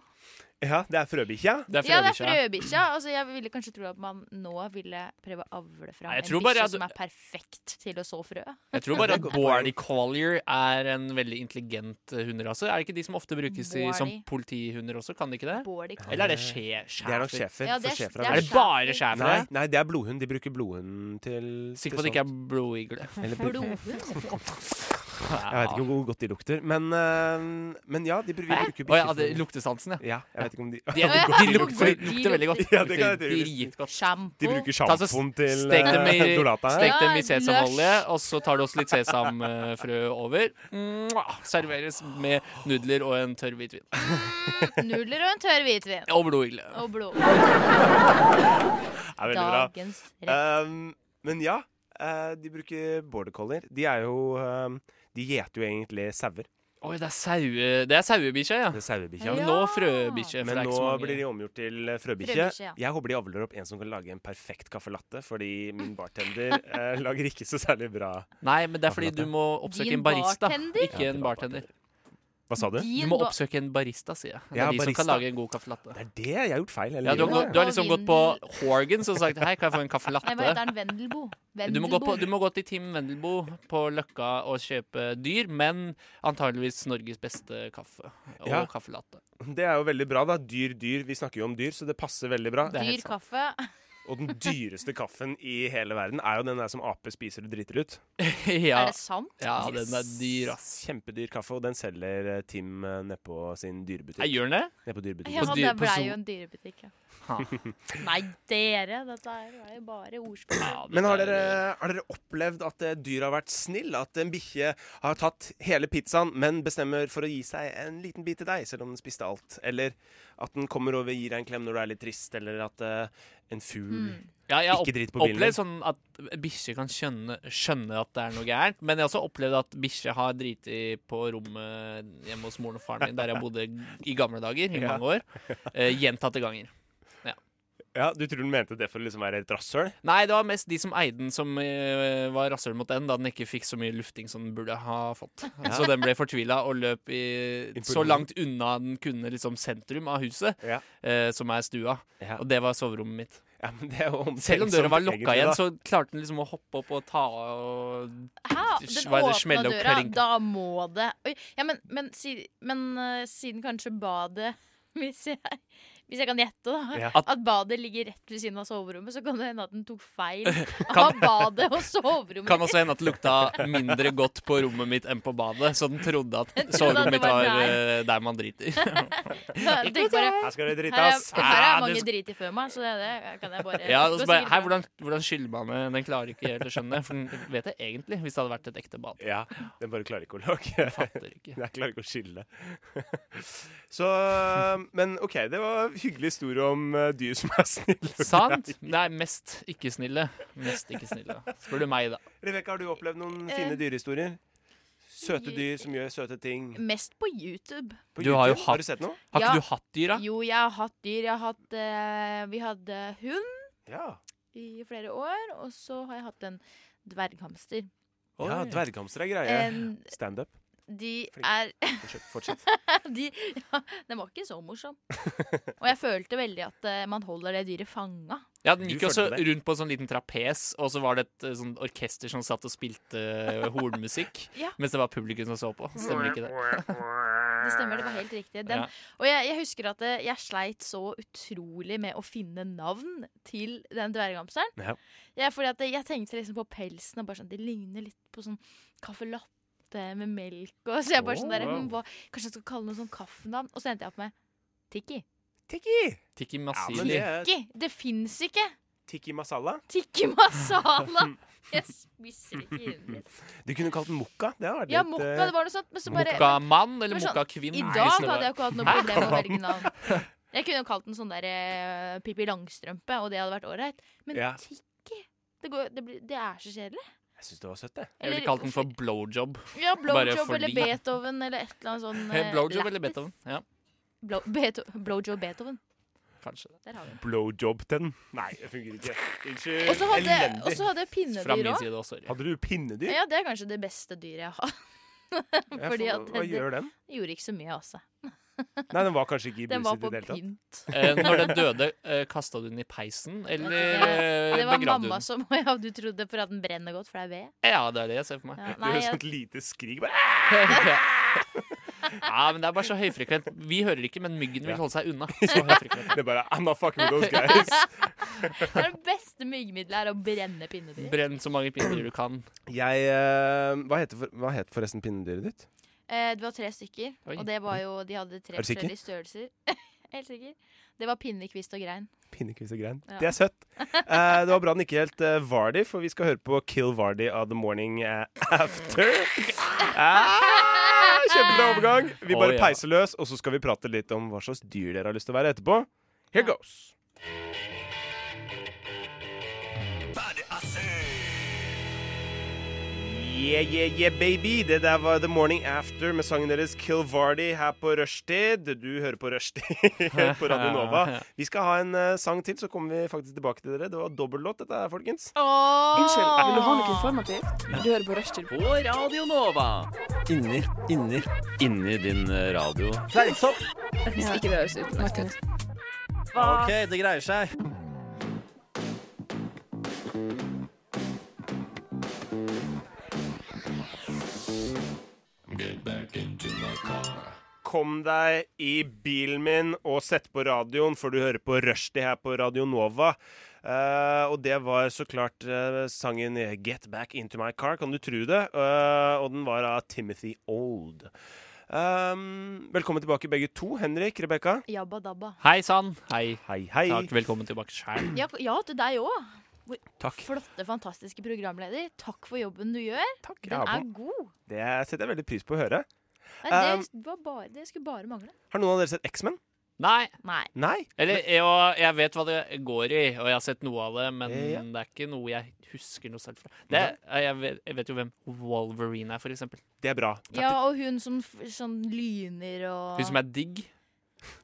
Ja, det er frøbikkja. Det er Ja, det er frøbikkja. frøbikkja. Altså, jeg ville kanskje tro at man nå ville prøve å avle fram Nei, jeg en tror bare bikkje at- som er perfekt til å så frø. Jeg tror bare Det at er godt Bordy Collier er en veldig intelligent eh, hunderase. Er det ikke de som ofte brukes i, som Bordy. politihunder også? Kan de ikke det? Border collie. Eller er det skje, Det er nok schæfer. schæfer? Ja, for det er- schæfer det har Er det bare schæfer. schæfere? Nei, nei, det er blodhund. De bruker blodhund til Sikker på at det ikke er blodigle. Eller blod. Blodhund? Jeg vet ikke hvor godt de lukter, men, øh, men ja, de br- vi Hæ? bruker Å ja, det, bikkjefoder. luktesansen, ja. Ja, jeg vet ikke om de De, er, Å ja, de de lukter, lukter- lukter veldig godt. Ja, det kan jeg Lukter tydeligvis. dritgodt. De Sjampo? bruker Ta så sjampoen til Stek dem i, eh, Dorata. her. stek dem Ja, i løs. sesamolje, og så tar du også litt sesamfrø over. Mwah! Serveres med nudler og en tørr hvitvin. Nudler og en tørr hvitvin. Og blodigle. Og blod. Det er veldig bra. Dagens rett. Um, men ja, eh, de bruker border collier. De er jo um, De gjeter jo egentlig sauer. Oi, det er saue... Det er sauebikkja, ja. Det er sauebikkja. Ja. Men nå frøbikkje. for Men det er ikke nå så mange. blir de omgjort til eh, frøbikkje. Frøbikkje, ja. Jeg håper de avler opp en som kan lage en perfekt caffè latte, fordi min bartender eh, lager ikke så særlig bra Nei, men det er fordi du må oppsøke Din en barista. bartender? Ikke en bartender. Hva sa du? Du Din må ba- oppsøke en barista, sier jeg. Det er Ja, de som barista. kan lage en god caffè latte. Det er det jeg har gjort feil. hele Ja, du, har, livet. gått- du har liksom Og gått på Horgans og sagt 'hei, kan jeg få en caffè Nei, hva latte'? heter den? Vendelbo? Du må, gå på, Vendelbo. du må gå til Team Vendelbo på Løkka og kjøpe dyr, men antageligvis Norges beste kaffe og Ja. kaffelatte. Det er jo veldig bra, da. Dyr, dyr. Vi snakker jo om dyr, så det passer veldig bra. Det er helt Dyr kaffe. Og den dyreste kaffen i hele verden er jo den der som ape spiser og driter ut. ja, Er det sant? ja, den er dyr, ass. Kjempedyr kaffe, og den selger eh, Tim eh, nedpå sin Jeg dyrebutikk. gjør den det? Ned på dyrebutikk. Ja, På dyr- det på blei zoo. jo en dyrebutikk, ja. Ha. Nei, dere! Dette her er jo bare ordspill. Ja, Men har dette dere, er- har dere opplevd at eh, dyr har vært snill? At en bikkje har tatt hele pizzaen, men bestemmer for å gi seg en liten bit til deg, selv om den spiste alt? Eller at den kommer over og gir deg en klem når du er litt trist, eller at eh, en fugl ja, jeg Ikke har opp- drit på bilen opplevd sånn at bikkjer kan skjønne, skjønne at det er noe gærent. Men jeg har også opplevd at bikkjer har driti på rommet hjemme hos moren og faren min, der jeg bodde i gamle dager i mange år. Eh, gjentatte ganger. Ja, Du tror hun mente det for å liksom være et rasshøl? Nei, det var mest de som eide den, som eh, var rasshøl mot den, da den ikke fikk så mye lufting som den burde ha fått. Så den ble fortvila og løp i, Imponerende. så langt unna den kunne liksom sentrum av huset, Ja. eh, som er stua. Ja. Og det var soverommet mitt. ja, men det er jo omtenksomt, Selv om døra var lukka sånn egentlig, igjen, da. så klarte den liksom å hoppe opp og ta og Hæ? Sh- Den hva er det, åpna smelle og døra, klinke? da må det Oi, ja, Men, men, si, men eh, siden kanskje badet hvis jeg, hvis jeg kan gjette, da. Ja. At badet ligger rett ved siden av soverommet, så kan det hende at den tok feil av badet og soverommet. Kan også hende at det lukta mindre godt på rommet mitt enn på badet, så den trodde at at det soverommet mitt var var der. eh, der man driter. Jeg tenker bare, Her skal det her, er, drites. her Ja, er mange det- drit i før meg, så det, det kan jeg bare Ja, og så gå bare, sikkert Hei, fra. hvordan, hvordan skyller man det? Den klarer ikke helt å skjønne. For den vet jeg egentlig, hvis det hadde vært et ekte bad. Ja, Den bare klarer ikke å lage Fatter ikke. Jeg klarer ikke å skille. Så Men OK, det var en hyggelig historie om eh, dyr som er snille. Sant? Det er mest ikke snille. Mest ikke snille. Spør du meg, da. Rebekka, har du opplevd noen Eh. fine dyrehistorier? Søte dyr som gjør søte ting. Mest på YouTube. På Du har jo YouTube? Har hatt- du sett noe? Har Ja. ikke du hatt dyr, da? Jo, jeg har hatt dyr. Jeg har hatt, eh, vi hadde hund Ja. i flere år, og så har jeg hatt en dverghamster. ja Oi. Dverghamster er greie. En, Standup. de Flink. er Fortsett. fortsett. de, ja, Den var ikke så morsom. Og jeg følte veldig at eh, man holder det dyret fanga. Ja, Den Du gikk også følte det. rundt på en sånn liten trapes, og så var det et eh, sånn orkester som satt og spilte eh, hornmusikk, Ja. mens det var publikum som så på. Stemmer ikke det? Det stemmer, det var helt riktig. Ja. Den, Og jeg, jeg husker at eh, jeg sleit så utrolig med å finne navn til den dverghamsteren. Ja. Ja, fordi at jeg tenkte liksom på pelsen, og bare sånn, det ligner litt på sånn caffè latte med melk. Og så jeg bare sånn der, Oh, wow. hm, hva, Kanskje jeg skal kalle noe sånn kaffenavn? Og så endte jeg opp med Tikki. Tikki! Tikki Ja, men det Masili. er Tikki! Det fins ikke! Tikki masala. Tikki masala! Jeg spiser ikke indisk. Du kunne kalt den mokka. Det har vært Ja, litt, mokka, eh, det var noe sånt. Men så bare, Mokkamann eller Men sånn, mokkakvinn? I Nei, dag snø. hadde jeg ikke hatt noe problem med å velge navn. Jeg kunne jo kalt den sånn der eh, Pippi Langstrømpe, og det hadde vært ålreit. Men Ja. Tikki det, går, det, blir, det er så kjedelig. Jeg syns det var søtt, det. Jeg ville kalt den for blowjob. ja, bare Blowjob fordi. eller Beethoven eller et eller annet sånn eh, Blowjob lættis. eller Beethoven? Ja, Blow, Beetho- blowjob Beethoven. kanskje. Der har vi den. Blowjob til den. Nei, det fungerer ikke. Unnskyld. Og så hadde, og Elendig. så hadde jeg Fra pinnedyr min òg. side også. sorry. Hadde du pinnedyr? Ja, det er kanskje det beste dyret jeg har. Ja, fordi for- at Hva det- gjør den? Gjorde ikke så mye, altså. Nei, den var kanskje ikke i Den var bruset i på det hele tatt. pynt. Eh, når den døde, eh, kasta du den i peisen, eller eh, Det var begravde du mamma den? som Ja, du trodde for at den brenner godt, for det er ved. Ja, det er det jeg ser for meg. Ja, Du nei, hører jeg, sånt lite skrik bare Ja. men det er bare så høyfrekvent. Vi hører ikke, men myggen vil Ja. holde seg unna. Så høyfrekvent. Det er bare I'm not fucking with those guys. det er det beste myggmiddelet er å brenne pinnedyr. Brenn så mange pinner du kan. Jeg eh, hva, heter for, hva heter forresten pinnedyret ditt? Eh, det var tre stykker, Oi. og det var jo, de hadde tre Er du sikker? forskjellige størrelser. Helt sikker. Det var pinnekvist og grein. Pinnekvist og grein. Ja. Det er søtt. Eh, det var bra den ikke helt eh, var de, for vi skal høre på Kill Vardy av The Morning eh, After. Ah, Kjempebra overgang. Vi Å, bare ja. peiser løs, og så skal vi prate litt om hva slags dyr dere har lyst til å være etterpå. Here Ja. goes. Yeah, yeah, yeah, baby. Det der var The Morning After med sangen deres Kill Vardy her på rushtid. Du hører på rushtid på Radio Nova. Vi skal ha en eh, sang til, så kommer vi faktisk tilbake til dere. Det var dobbellåt, dette her, folkens. Unnskyld, Vil du ha noe informativt? Du hører på Rushtid. På Radio Nova. Inni, inni, inni din eh, radio. Fleinsopp! Hvis ikke det høres ut. Martin. OK, det greier seg. Kom deg i bilen min og sett på radioen, for du hører på Rushdie her på Radio Nova. Eh, og det var så klart eh, sangen 'Get Back Into My Car', kan du tro det? Eh, og den var av Timothy Old. Um, velkommen tilbake begge to. Henrik, Rebekka. Jabba dabba. Hei sann. Hei. Hei, hei. Takk, velkommen tilbake sjæl. Ja, ja, til deg òg. Takk. Flotte, fantastiske programleder. Takk for jobben du gjør. Takk, Den ja, er god. Det setter jeg veldig pris på å høre. Nei, Ehm. det, var bare, det skulle bare mangle. Har noen av dere sett X-Men? Nei. Nei. Nei. Eller jeg, og jeg vet hva det går i, og jeg har sett noe av det, men Eh, Ja. det er ikke noe jeg husker noe selv fra. Det, jeg, vet, jeg vet jo hvem Wolverine er, for eksempel. Det er bra. Ja, og hun som f- sånn lyner og Ah. Hun som er digg.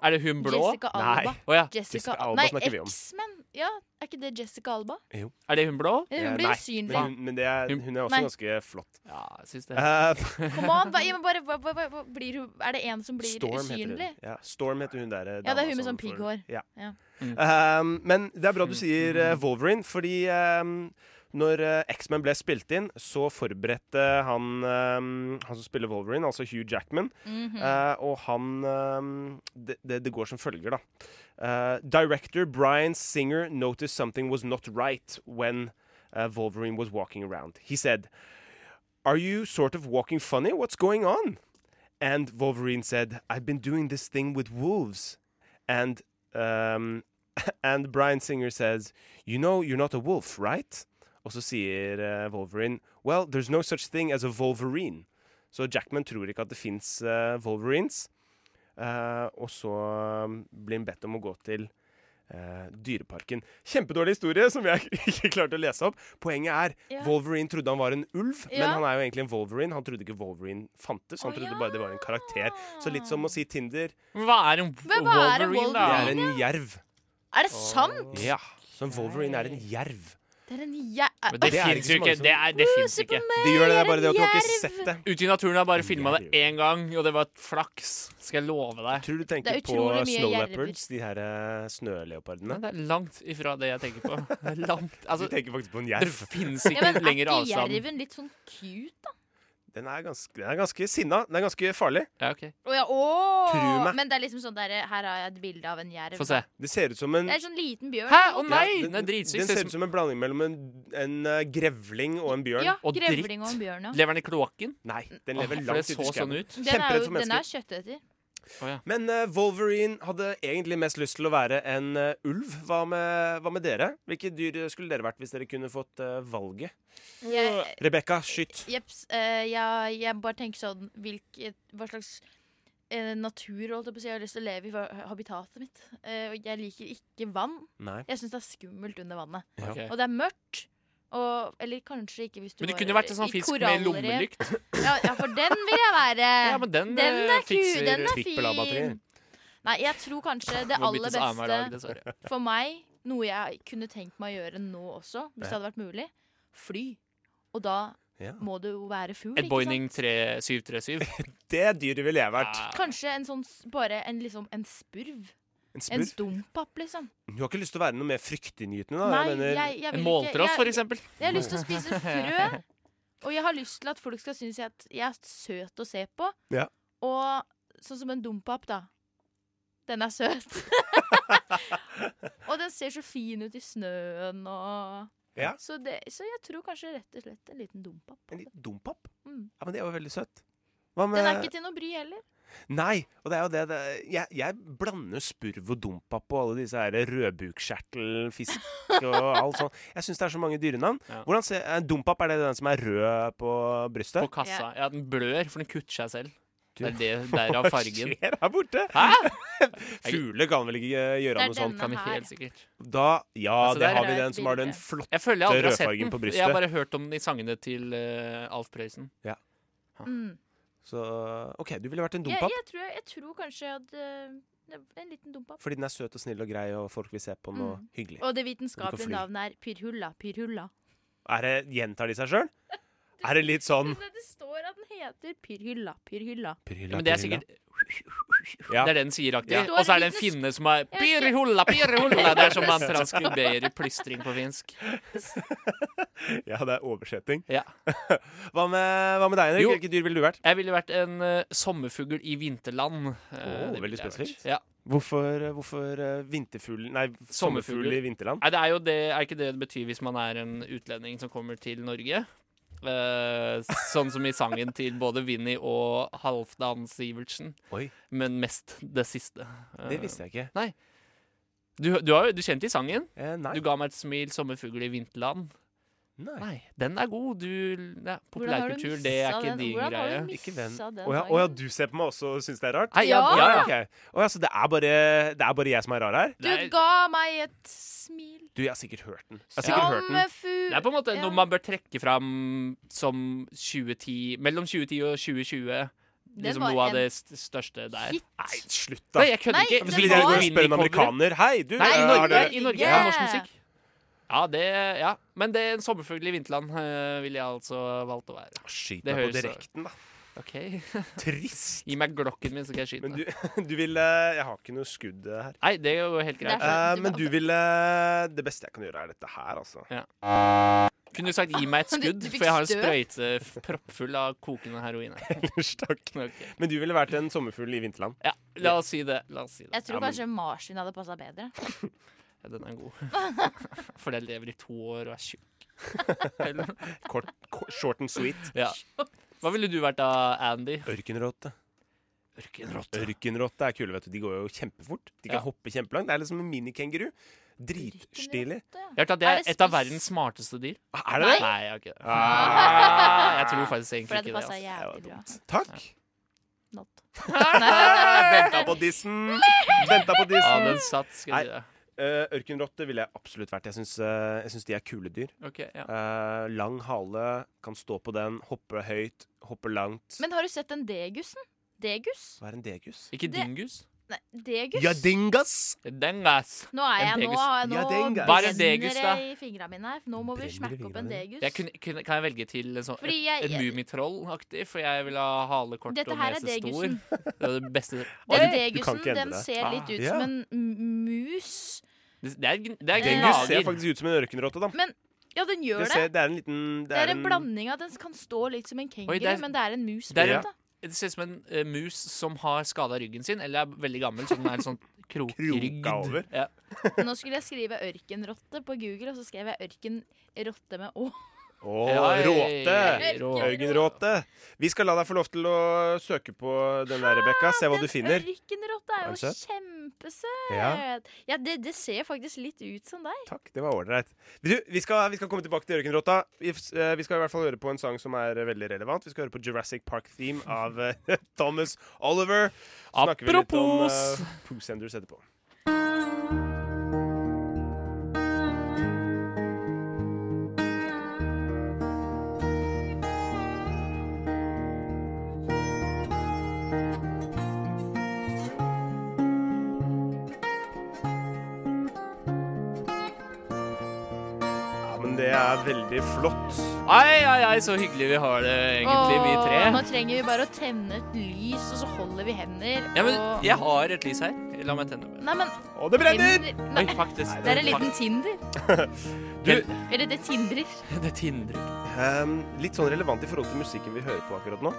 Er det hun blå? Jessica Nei. Alba. Å ja. Jessica, Jessica Alba Nei, snakker vi om. X-Men. Ja, Er ikke det Jessica Alba? Er det hun blå? Eh, Eh, Hun blir nei, usynlig. Men, hun, men det er, hun er også Nei. ganske flott. Ja, jeg syns det. Eh, Come on, hva, ja, men bare, hva, hva, hva- hva, blir hun, er det en som blir Storm usynlig? Heter hun. Ja, Storm heter hun der. eh, Ja, det er dama hun med som sånn får- pigghår. Ja. Ja. Mm. Ehm, men det er bra du sier eh, Wolverine, fordi ehm, når eh, X-Men ble spilt inn, så forberedte han ehm, Han som spiller Wolverine, altså Hugh Jackman, Mhm. eh, og han ehm, det, det, det går som følger, da. Eh, director Brian Singer noticed something was not right when uh, Wolverine was walking around. He said, Are you sort of walking funny? What's going on? And Wolverine said, I've been doing this thing with wolves. And um, and Brian Singer says, You know, you're not a wolf, right? Og så sier eh, Wolverine, Well, there's no such thing as a Wolverine. Så Jackman tror ikke at det fins Wolverines. Eh, og så um, blir han bedt om å gå til eh, Dyreparken. Kjempedårlig historie som jeg ikke klarte å lese opp. Poenget er Ja. Wolverine trodde han var en ulv, men Ja. han er jo egentlig en Wolverine. Han trodde ikke Wolverine fantes, han Å, trodde ja. bare det var en karakter. Så litt som å si Tinder. Men Hva er en Men hva er en Det Wolverine, da? er en jerv. Er det sant?! Ja. Så en Wolverine er en jerv. Det er en jæ... Men det Det er ikke fins så jo mange ikke. som- Det, er, det finnes Se på ikke. meg, Det gjør det, det jeg er bare det at du har ikke en sett jerv! det. Ute i naturen har jeg bare filma det én gang, og det var et flaks. Skal jeg love deg. Tror du du Det tenker er på utrolig mye snow jerver. leopards, de her eh, Nei, snøleopardene? det er langt ifra det jeg tenker på. Det er langt. Du Altså, tenker faktisk på en det jerv. fins Ja, men ikke er lenger ikke avstand. jerven litt sånn cute, da? Den er ganske, den er ganske sinna. Den er ganske farlig. Ja, ok. Å ja, åh! Tro meg. Men det er liksom sånn der, her har jeg et bilde av en jerv. Få se. Det ser ut som en Det er sånn liten bjørn. Hæ? Å nei! Ja, Den er dritsyk. den Ser ser ut ut som som en blanding mellom en, en eh, grevling og en bjørn. Ja, Og dritt. grevling og en bjørn, ja. Lever den i kloakken? Nei, den Åh, lever for det langt ute så i sånn skauen. ut. Den er, Kjemperedd jo, for den mennesker. er kjøtteter. Men eh, Wolverine hadde egentlig mest lyst til å være en eh, ulv. Hva med, hva med dere? Hvilke dyr eh, skulle dere vært hvis dere kunne fått eh, valget? Jeg- Rebekka, skyt. Jeps. eh, jeg, jeg bare tenker sånn hvilket, Hva slags eh, natur holdt jeg på å si, jeg har lyst til å leve i hva- habitatet mitt. Eh, og jeg liker ikke vann. Nei. Jeg syns det er skummelt under vannet. Ja. Ok. Og det er mørkt. Og, eller kanskje ikke hvis du Eh. Men det var kunne vært en sånn i fisk med korallrev. lommelykt. Ja, ja, for den vil jeg være. Ja, men den, den eh, er kul, fikser den er Trippel-A-batterier. fin. Nei, jeg tror kanskje det Må byttes aller av meg i dag, beste dessverre. for meg, noe jeg kunne tenkt meg å gjøre nå også, hvis det Ja. hadde vært mulig, fly. Og da Ja. må det jo være fugl, Et ikke sant? Boeing 3 737. Det dyret ville jeg vært. Ja. Kanskje en sånn, s- bare en, liksom, en spurv. En En spurv. dompap, liksom. Du har ikke lyst til å være noe mer fryktinngytende? da? Nei, Jeg mener, jeg, jeg En vil måltross, for ikke. Jeg, eksempel. jeg har lyst til å spise frø. Og jeg har lyst til at folk skal synes at jeg er søt å se på. Ja. Og sånn som en dompap, da. Den er søt. og den ser så fin ut i snøen og Ja. så, det, så jeg tror kanskje rett og slett en liten dompap. En liten dompap? Mm. Ja, men det er jo veldig søtt. Hva med Den er ikke til noe bry heller. Nei, og det er jo det, det jeg, jeg blander spurv og dompap og alle disse her rødbukkskjertelfisk og alt sånt. Jeg syns det er så mange dyrenavn. Ja. Hvordan ser, eh, Dompap, er det den som er rød på På brystet? kassa. Ja, den blør, for den kutter seg selv. Det er det Hva derav fargen. skjer her borte? Hæ? Fugler kan vel ikke eh, Det gjøre er noe sånt? den. Kan Denne vi her. helt sikkert. Da, ja, Altså, det der har er vi et den som har den bilde. flotte Jeg føler jeg aldri har sett rødfargen på den. Jeg brystet. har bare hørt om den i sangene til eh, Alf Prøysen. Mm. Så OK, du ville vært en Jeg, dompap. jeg, tror, jeg tror kanskje jeg hadde eh, en liten dompap. Fordi den er søt og snill og grei, og folk vil se på den og Mm. hyggelig. Og det Du vitenskapelige kan fly. navnet er pyrhulla. Pyrhulla. Er det, gjentar de seg sjøl? Er det litt sånn Det, det står at den heter pyrhylla. Pyrhylla. Ja, men det er sikkert Ja. Det er det den sier, aktig. Ja. Og så er det en finne som er Jeg vet ikke. Pirhulla, pirhulla. Det er som man transkriberer plystring på finsk. Ja, det er oversetting. Ja. Hva med, hva med deg, Henrik? Jo. Hvilket dyr ville du vært? Jeg ville vært en eh, sommerfugl i vinterland. Åh, Eh, det ville veldig jeg vært. spesifikt. Ja. Hvorfor, hvorfugl Nei, sommerfugl i vinterland? Nei, det er jo det, er ikke det det betyr hvis man er en utlending som kommer til Norge? Eh, sånn som i sangen til både Vinni og Halvdan Sivertsen. Oi, Men mest det siste. Eh, det visste jeg ikke. Du, du, har, jo- du kjente i sangen? Eh, nei. Du ga meg et smil, sommerfugl i vinterland. nei. Nei, den er god. Du ja, Populærkultur, det er ikke din greie. Hvordan har du Ikke den. missa den? Å ja, sangen? å ja, du ser på meg også og syns det er rart? Nei, ja, Ja. ja, ja. Ok. Å ja, så det er, bare, det er bare jeg som er rar her? Du Det er- ga meg et smil Du, jeg har sikkert hørt den. Jeg har sikkert hørt den. Sommerfugl Det er på en måte Ja. noe man bør trekke fram som 2010 Mellom 2010 og 2020. Det liksom var noe av en det st- største der. hit. Nei, slutt, da. Nei, jeg kødder Nei, ikke. det Skulle var- dere gå og Vinnie-coveret. spørre en amerikaner Hei, du! Nei, i eh, har Norge, dere- i Norge er det norsk Yeah. musikk. Ja, det, ja. Men det er en sommerfugl i vinterland eh, ville jeg altså valgt å være. Skyt Det meg på høres- direkten, da. Ok, Trist. Gi meg glokken min, så skal jeg skyte. Men deg. du, du ville Jeg har ikke noe skudd her. Nei, det går jo helt greit. Det er- Eh, Du men bare- du ville Det beste jeg kan gjøre, er dette her, altså. Kunne du sagt 'gi meg et Du- skudd', du fikk for jeg har en støt. sprøyte f- proppfull av kokende heroin her. Ellers takk. Ok. Men du ville vært en sommerfugl i vinterland. Ja, la oss si det. La oss si det. Jeg tror Ja, men- kanskje marsvin hadde passa bedre. Ja, den er god. For den lever i to år og er tjukk. Eller- Kort, kort, short and sweet. Ja. Hva ville du vært da, Andy? Ørkenrotte. Ørkenrotte. Ørkenrotte er kule, vet du. De går jo kjempefort. De kan Ja. hoppe kjempelangt. Det er liksom en minikenguru. Dritstilig. Jeg har hørt at det er Er det et av spiss? verdens smarteste dyr. Ah, Er det det? Nei, jeg har ikke det. Ah, Jeg tror faktisk For egentlig det ikke hadde det. passa altså. jævlig bra. Takk. Not. Ah. Venta på dissen. Venta på Ja, dissen. den satt, skal jeg si det. Eh, ørkenrotte ville jeg absolutt vært. Jeg syns, eh, jeg syns de er kule dyr. Ok, ja. Eh, lang hale, kan stå på den, hoppe høyt, hoppe langt. Men har du sett den degusen? Degus? Hva er en degus? Ikke Det- dingus? Nei, degus? Ja, dingas! Dengas. Nå er jeg En nå, degus. nå Ja, det er en degus. Hva er en degus, da? brenner det i fingra mine her. Nå må vi Brenner i smakke opp fingrene en dine? degus. Jeg kunne, kunne, kan jeg velge til en, sånn, Fordi et, jeg- et mumitroll-aktig? For jeg vil ha hale kort Dette og her er nese stor. degusen. Det er det beste Den Oi, du kan degusen ikke endre den det. ser litt Ah, ut ja. som en m- mus. Det det er, det er Dingus ser gnager. faktisk ut som en ørkenrotte, da. Ja, den Det, gjør det. ser, det er en liten Det er en blanding av Den kan stå litt som en kenguru, det er- men det er en mus. Det er på en- den, da. Det ser ut som en eh, mus som har skada ryggen sin, eller er veldig gammel, så den er litt sånn krokrygd. Kroka over. Ja. Nå skulle jeg skrive ørkenrotte på Google, og så skrev jeg ørkenrotte med å. Å, Ja, råte! ja, ja, ja, ja. Ørkenrotte. Vi skal la deg få lov til å søke på den der, Rebekka. Se hva du finner. Ørkenrotte er Er den jo søt? kjempesøt. Ja, Ja, det, det ser faktisk litt ut som deg. takk. Det var ålreit. Du, vi skal, vi skal komme tilbake til ørkenrotta. Vi, eh, vi skal i hvert fall høre på en sang som er eh, veldig relevant. Vi skal høre på Jurassic Park-theme av eh, Thomas Oliver. Så snakker vi litt om, Apropos. eh, Pooh Senders etterpå. Ja, men det er veldig flott. Ai, ai, ai, så hyggelig vi har det, egentlig, vi Åh, Nå tre. trenger vi bare å tenne et lys, og så holder vi hender. Ja, men og... jeg har et lys her. La meg tenne. Nei, men Og det brenner! Tinder Oi, Nei, faktisk. det er en liten Tinder. Du, Eller det tindrer. Det tindrer. Ehm, litt sånn relevant i forhold til musikken vi hører på akkurat nå.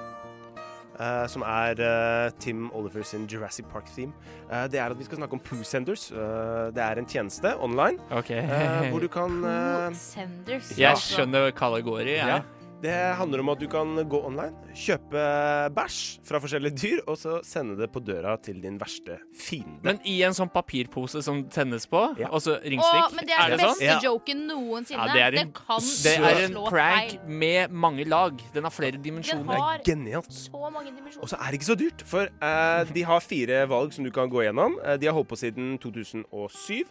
eh, som er eh, Tim Oliver sin Jurassic Park-theme. Eh, det er at vi skal snakke om Poo Senders. Eh, det er en tjeneste online Ok. eh, hvor du kan eh, Senders. altså. Ja. Jeg skjønner hva det går i. ja. Jeg. Det handler om at du kan gå online, kjøpe bæsj fra forskjellige dyr, og så sende det på døra til din verste fiende. Men i en sånn papirpose som tennes på, Ja. og så Åh, ringstikk? men det er, er det den sånn? beste Ja. joken noensinne. Ja, det er en- den kan Det slå er en prank feil. med mange lag. Den har flere Den dimensjoner. har Genialt. så mange Og dimensjoner. så er det ikke så dyrt, for eh, de har fire valg som du kan gå gjennom. Eh, de har holdt på siden 2007.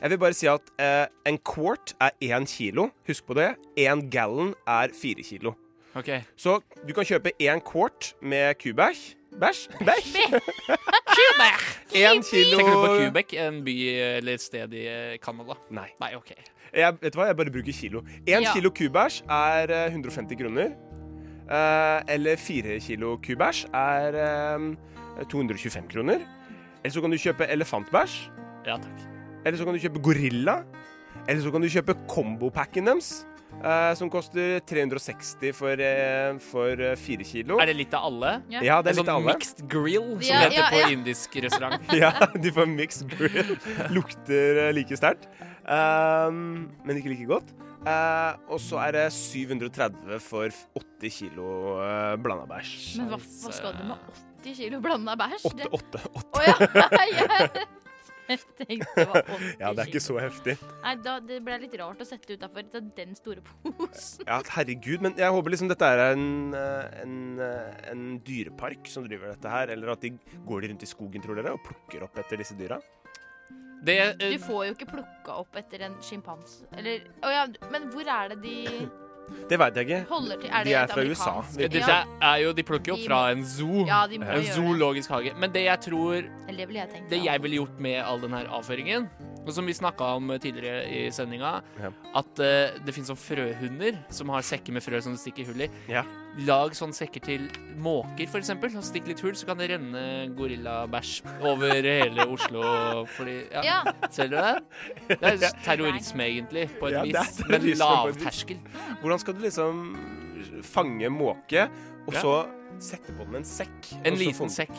Jeg vil bare si at eh, en quart er én kilo. Husk på det. En gallon er fire kilo. Ok. Så du kan kjøpe én quart med kubæsj. Bæsj? Bæsj? Én kilo Tenker du på Quebec, en by eller et sted i eh, Canada? Nei. Nei, OK. Jeg, vet du hva, jeg bare bruker kilo. Én Ja. kilo kubæsj er eh, 150 kroner. Eh, eller fire kilo kubæsj er eh, 225 kroner. Eller så kan du kjøpe elefantbæsj. Ja takk. Eller så kan du kjøpe Gorilla. Eller så kan du kjøpe combopacken deres. eh, som koster 360 for, eh, for eh, fire kilo. Er det litt av alle? Ja, det er En litt sånn av alle. mixed grill som Ja, heter ja, ja. på indisk restaurant. Ja, de får mixed grill. Lukter eh, like sterkt. Um, men ikke like godt. Eh, og så er det 730 for 80 kilo uh, blanda bæsj. Men hva, hva skal du med 80 kilo blanda bæsj? Det- 8, 8, 8. Å ja. jeg- Jeg tenkte det var 80 Ja, det er ikke kilo. så heftig. Nei, da, Det ble litt rart å sette utafor den store posen. Ja, herregud, men jeg håper liksom dette er en, eh, en, eh, en dyrepark som driver dette her, eller at de går rundt i skogen, tror dere, og plukker opp etter disse dyra. Det, eh, Du får jo ikke plukka opp etter en sjimpanse. Eller Å ja, men hvor er det de Det veit jeg ikke. Holder til, er det De er et fra USA. amerikansk- Det- Dette Ja. er jo, De plukker jo De opp fra en zoo. Ja, de må En gjøre En det. zoologisk hage. Men det jeg tror Eller det ville jeg tenkt. Det ja. jeg ville gjort med all den her avføringen, og som vi snakka om tidligere i sendinga, Ja. at eh, det fins sånne frøhunder som har sekker med frø som du stikker hull i. Ja. Lag sånne sekker til måker, for eksempel. og Stikk litt hull, så kan det renne gorillabæsj over hele Oslo. Fordi, ja. Ja. Ser du det? Det er terrorisme, egentlig, på et Ja, det er vis. terrorisme Men på et vis. lavterskel. Hvordan skal du liksom fange måke, og Ja. så sette på den en sekk? En og så få liten den- sekk.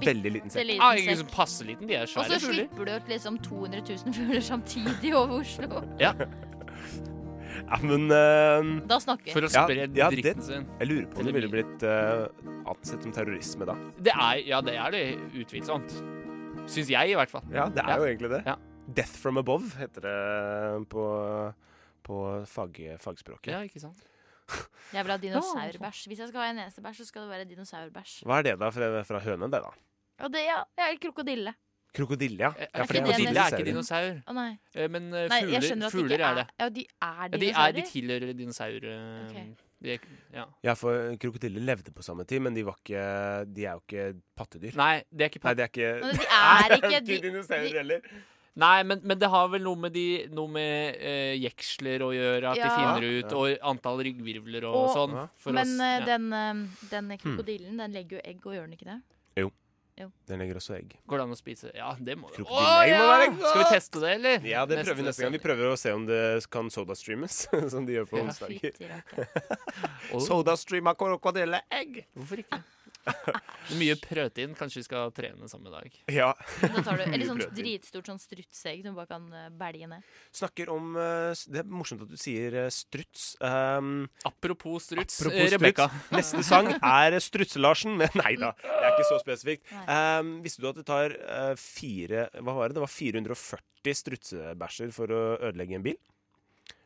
Veldig liten Bitte sekk. Ah, ikke liten sånn sekk. passe liten, de er Og så svære. mulig. slipper du ut liksom 200 000 fugler samtidig over Oslo. Ja, men eh, Da snakker vi. For å Ja, spre ja, det- dritten sin. jeg lurer på om det ville blitt eh, ansett som terrorisme da. Det er, ja, det er det utvilsomt. Syns jeg, i hvert fall. Ja, det er Ja. jo egentlig det. Ja. Death from above heter det eh, på, på fag, fagspråket. Ja, ikke sant? Jeg vil ha dinosaurbæsj. Hvis jeg skal ha en eneste bæsj, så skal det være dinosaurbæsj. Hva er det da fra, fra hønen, det da? Og det, ja, jeg er krokodille. Krokodille, ja. Er ja for det ikke er jo dinosaur. eh, er ikke dinosaurer. dinosaur, Å nei. Eh, men eh, nei. Jeg fugler, skjønner at det fugler ikke er det. Ja, de er Ja, de, er, de dinosaurer. tilhører dinosaurer. eh, Ok. de er- ja. Ja, for krokodiller levde på samme tid, men de, var ikke, de er jo ikke pattedyr. Nei, det er ikke Nei, patt. det er ikke Nei, de er ikke- Nei, de- dinosaurer de- heller. Nei, men, men det har vel noe med, de, noe med eh, jeksler å gjøre, at de Ja. finner ut, Ja. og antall ryggvirvler og, Og- sånn. Ja. For Men oss. eh, Ja. Hmm. den, eh, den krokodillen, den legger jo egg, og gjør den ikke det? Den legger også egg. Går det an å spise? Ja, det må det. Krokodille egg må være godt! Skal vi teste det, eller? Ja, det prøver vi neste gang. Vi prøver å se om det kan sodastreames, som de gjør på Ja. onsdager. Fytti rakkeren. Å, Sodastreama krokodilleegg! hvorfor ikke? Mye prøtein. Kanskje vi skal trene samme dag. Ja. Men Da tar du Mye eller sånn brød til. dritstort sånn strutseegg som du bare kan eh, belge ned. Snakker om eh, s- Det er morsomt at du sier eh, struts. Um, Apropos struts, Apropos eh, Rebekka. struts, Neste sang er Strutse-Larsen. Men nei da, det er ikke så spesifikt. Um, visste du at det tar eh, fire Hva var det? Det var 440 strutsebæsjer for å ødelegge en bil?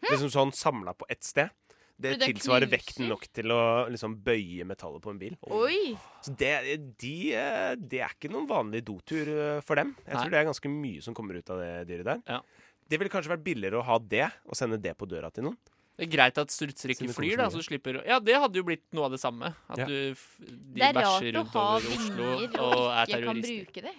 Liksom sånn samla på ett sted. Det Men det tilsvarer knuser. vekten nok til å liksom bøye metallet på en bil. Oi! Så det, de, eh, det er ikke noen vanlig dotur eh, for dem. Jeg Nei. tror det er ganske mye som kommer ut av det dyret der. Ja. Det ville kanskje vært billigere å ha det og sende det på døra til noen. Det er greit at strutser ikke Siden det flyr, kommer da, så så du slipper Ja, det hadde jo blitt noe av det samme. At Ja. du f- de Det er bæsjer rart å rundt ha over Oslo vinger og og er ikke kan terrorister. bruke det.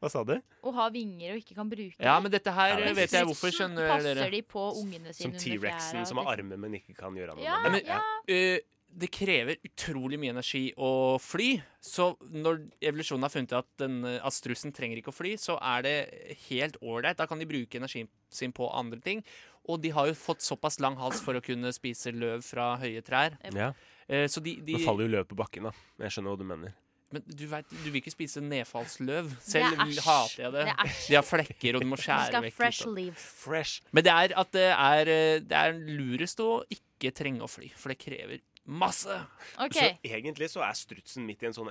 Hva sa du? Å ha vinger og ikke kan bruke Ja, det. men dette her Ja, eh, men vet jeg strutsen hvorfor, skjønner dere. Passer de på ungene sine Som under T-rexen fjæra, som har liksom. armer, men ikke kan gjøre noe Ja, med Men- det. ja. Eh, det krever utrolig mye energi å fly, så når evolusjonen har funnet at, den, eh, at strussen trenger ikke å fly, så er det helt ålreit. Da kan de bruke energien sin på andre ting. Og de har jo fått såpass lang hals for å kunne spise løv fra høye trær. Ja. Eh, Så de, de Nå faller jo løvet på bakken, da. Men jeg skjønner hva du mener. Men du, vet, du vil ikke spise nedfallsløv. Det er Selv æsj. hater jeg det. Det er æsj. De har flekker, og du må Du skjære skal ha vekk. fresh litt. leaves. Fresh. Men det er at det er, eh, det er lurest å ikke trenge å fly, for det krever masse. OK. Så egentlig så er strutsen midt i en sånn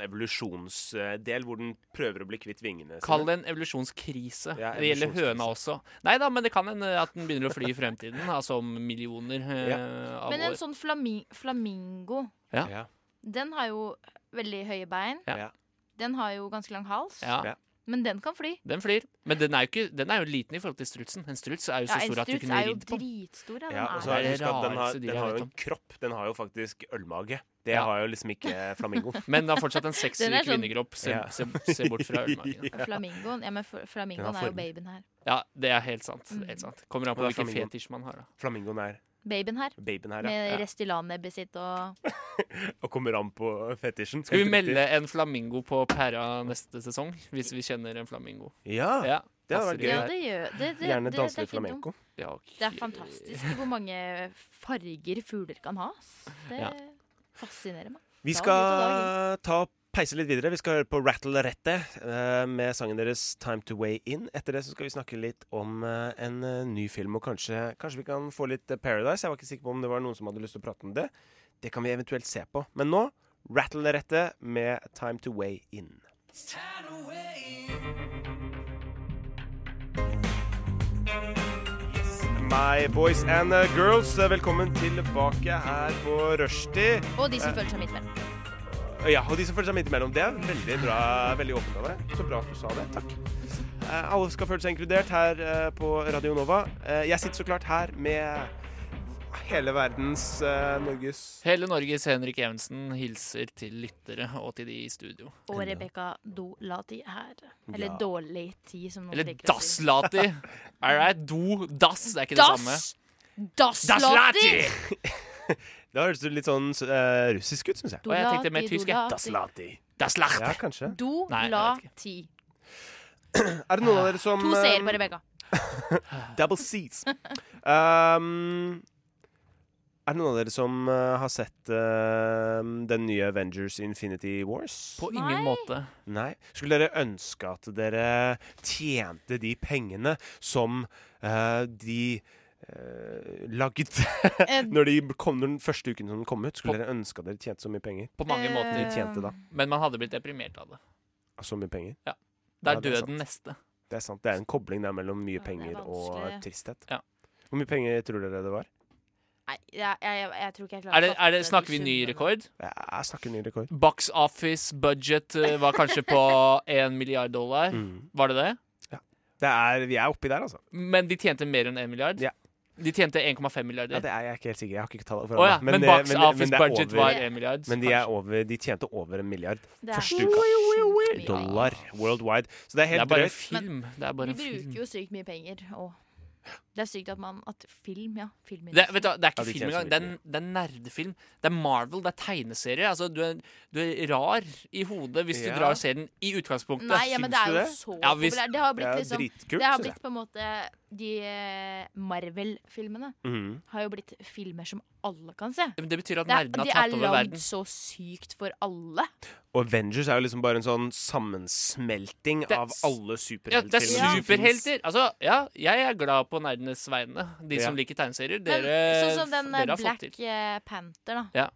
evolusjonsdel hvor den prøver å bli kvitt vingene sine. Kall det en evolusjonskrise. Ja, Det gjelder evolusjonskrise. høna også. Nei da, men det kan hende at den begynner å fly i fremtiden. Altså om millioner eh, av Men en år. sånn flamin flamingo, Ja. Ja. den har jo veldig høye bein. Ja. Ja. Den har jo ganske lang hals. Ja, Ja. Men den kan fly. den flyr. Men den er, jo ikke, den er jo liten i forhold til strutsen. En struts er jo så Ja, en stor at du struts kunne er jo ridd på den. dritstor. Ja, den Ja, altså- og så er. er Det er det husk at den har, rareste dyret den jeg har vet jo en om. kropp. Den har jo faktisk ølmage. Det Ja. har jo liksom ikke flamingoen. Men den har fortsatt en sexy Den er sånn- kvinnekropp. Se, Ja. se, se bort fra ølmagen. Flamingoen, ja, men fl- Den flamingoen har er jo form. babyen her. Ja, det er helt sant. Mm. Det er helt sant. Kommer an på Men hvilken flamingoen- fetisj man har. Da. Flamingoen er Babyen her. babyen her, Med ja. ja. Restylane-nebbet sitt og Og kommer an på fetisjen. Skal vi Helt riktig. melde en flamingo på pæra neste sesong? Hvis vi kjenner en flamingo. Ja. Ja, Det hadde passer vært gøy. i Ja, her. det gjør det. det, Gjerne det, danse det er litt ikke dumt. flamenco. Ja, ok. Det er fantastisk hvor mange farger fugler kan ha. ass. Det Ja. fascinerer meg. Vi Da skal ta peise litt videre. Vi skal høre på Rattle Rette eh, med sangen deres 'Time To Way In'. Etter det så skal vi snakke litt om eh, en eh, ny film, og kanskje, kanskje vi kan få litt eh, 'Paradise'. Jeg var ikke sikker på om det var noen som hadde lyst til å prate om det. Det kan vi eventuelt se på. Men nå Rattle Rette med 'Time To Way In'. My boys and eh, girls, eh, velkommen tilbake her på rushtid. Og de som føler seg midt mellom. Ja, og de som føler seg midt imellom. Det er veldig bra, veldig åpent av deg. Så bra at du sa det. Takk. Eh, alle skal føle seg inkludert her eh, på Radio Nova. Eh, jeg sitter så klart her med hele verdens eh, Norges Hele Norges Henrik Evensen hilser til lyttere og til de i studio. Og Rebekka Dolati her. Eller Ja. Dårlig tid, som noen Eller liker å si. Dasslati! All right, do, dass, det er ikke det samme. Dass! Dasslati! Det høres litt sånn eh, russisk ut, syns jeg. Og jeg tenkte mer tysk, jeg. Dasslati! Ja, kanskje. Nei, jeg vet Dolati. Er det noen av dere som To seere eh, på Rebekka. Double C's. Um, er det noen av dere som eh, har sett eh, den nye Avengers Infinity Wars? På ingen Nei. måte. Nei. Skulle dere ønske at dere tjente de pengene som eh, de eh, laget Eh, når de kom den første uken som den kom ut? Skulle dere ønske at dere tjente så mye penger? På mange Eh. De måter. tjente da Men man hadde blitt deprimert av det. så mye penger. Det Ja, er det er døden neste. Det er sant. Det er en kobling der mellom mye Ja, det er penger og vanskelig. tristhet. Ja. Hvor mye penger tror dere det var? Nei, jeg, jeg, jeg tror ikke jeg klarer Er det, å fatte er det, snakker vi de ny summene. rekord? Jeg snakker ny rekord. Box office budget eh, var kanskje på 1 milliard dollar. Mm. Var det det? Det er, vi er oppi der, altså. Men de tjente mer enn 1 milliard? Ja. De tjente 1,5 Ja, milliarder. det er jeg ikke helt sikker. Jeg har ikke tallet Å foran ja, meg. men, eh, box men- men office det er budget over- var 1 milliard. Men de, er over, de tjente over en milliard Det er første sjukt uka. mye. dollar worldwide. Så det er det helt er bare en drøyt. film. Det er bare Vi en film. bruker jo sykt mye penger, og det er sykt at man At film, ja. Film Det, vet du, hva, det er Ja, ikke de film tjener så engang. Det er, en- det er nerdefilm. Det er Marvel, det er tegneserie. Altså, du, er, du er rar i hodet hvis Ja. du drar serien i utgangspunktet. Nei, ja, men det syns er du jo det? så Ja, hvis- populært. Det har Det blitt er liksom dritkult, Det har synes jeg. blitt på en måte De eh, Marvel-filmene Mhm. har jo blitt filmer som alle kan se. Men det betyr at Det er, nerdene de har er tatt over lagd verden. så sykt for alle. Og Avengers er jo liksom bare en sånn sammensmelting er av s- alle Ja, det er superheltfilmer. som finnes. superhelter. Altså, ja, jeg er glad på nerdenes vegne. De som Ja. liker tegneserier. Dere, Men sånn som den eh, dere har Black fått til. eh, Panther, da. Ja.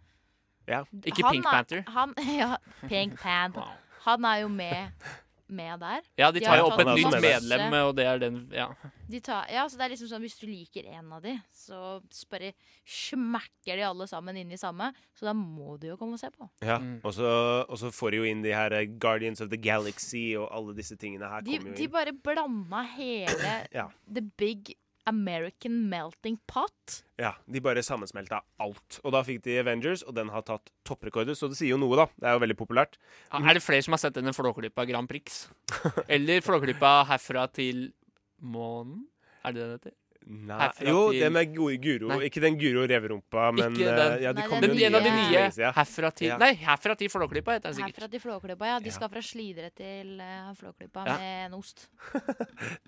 Ikke Han Pink er- Panther. Han, ja, Pink Panther. Han er jo med, med der. Ja, de de tar har jo opp tatt et nytt masse- medlem, og det er den Ja. De tar, ja, så det er liksom sånn Hvis du liker en av de, så bare smekker de alle sammen inn i samme. Så da må du jo komme og se på. Ja. Mm. Og, så, og så får de jo inn de her eh, Guardians of the Galaxy og alle disse tingene her. De, kommer jo de inn. bare blanda hele Ja. The Big American Melting Pot. Ja, de bare sammensmelta alt. Og da fikk de Avengers, og den har tatt topprekorder, så det sier jo noe, da. Det er jo veldig populært. Er det flere som har sett denne Flåklypa Grand Prix? Eller Flåklypa herfra til månen? Er det den heter? Nei. Herfra Jo, til- det med Gu- Guro Nei. Ikke den Guro Reverumpa, men Ikke eh, den. ja, de Nei, kom den jo Men en av de nye- nye. lenge siden. Herfra til Ja. Nei, herfra til Flåklypa heter den Herfra sikkert. til Flåklypa. Ja, Ja. de skal fra Slidre til eh, Flåklypa Ja. med en ost.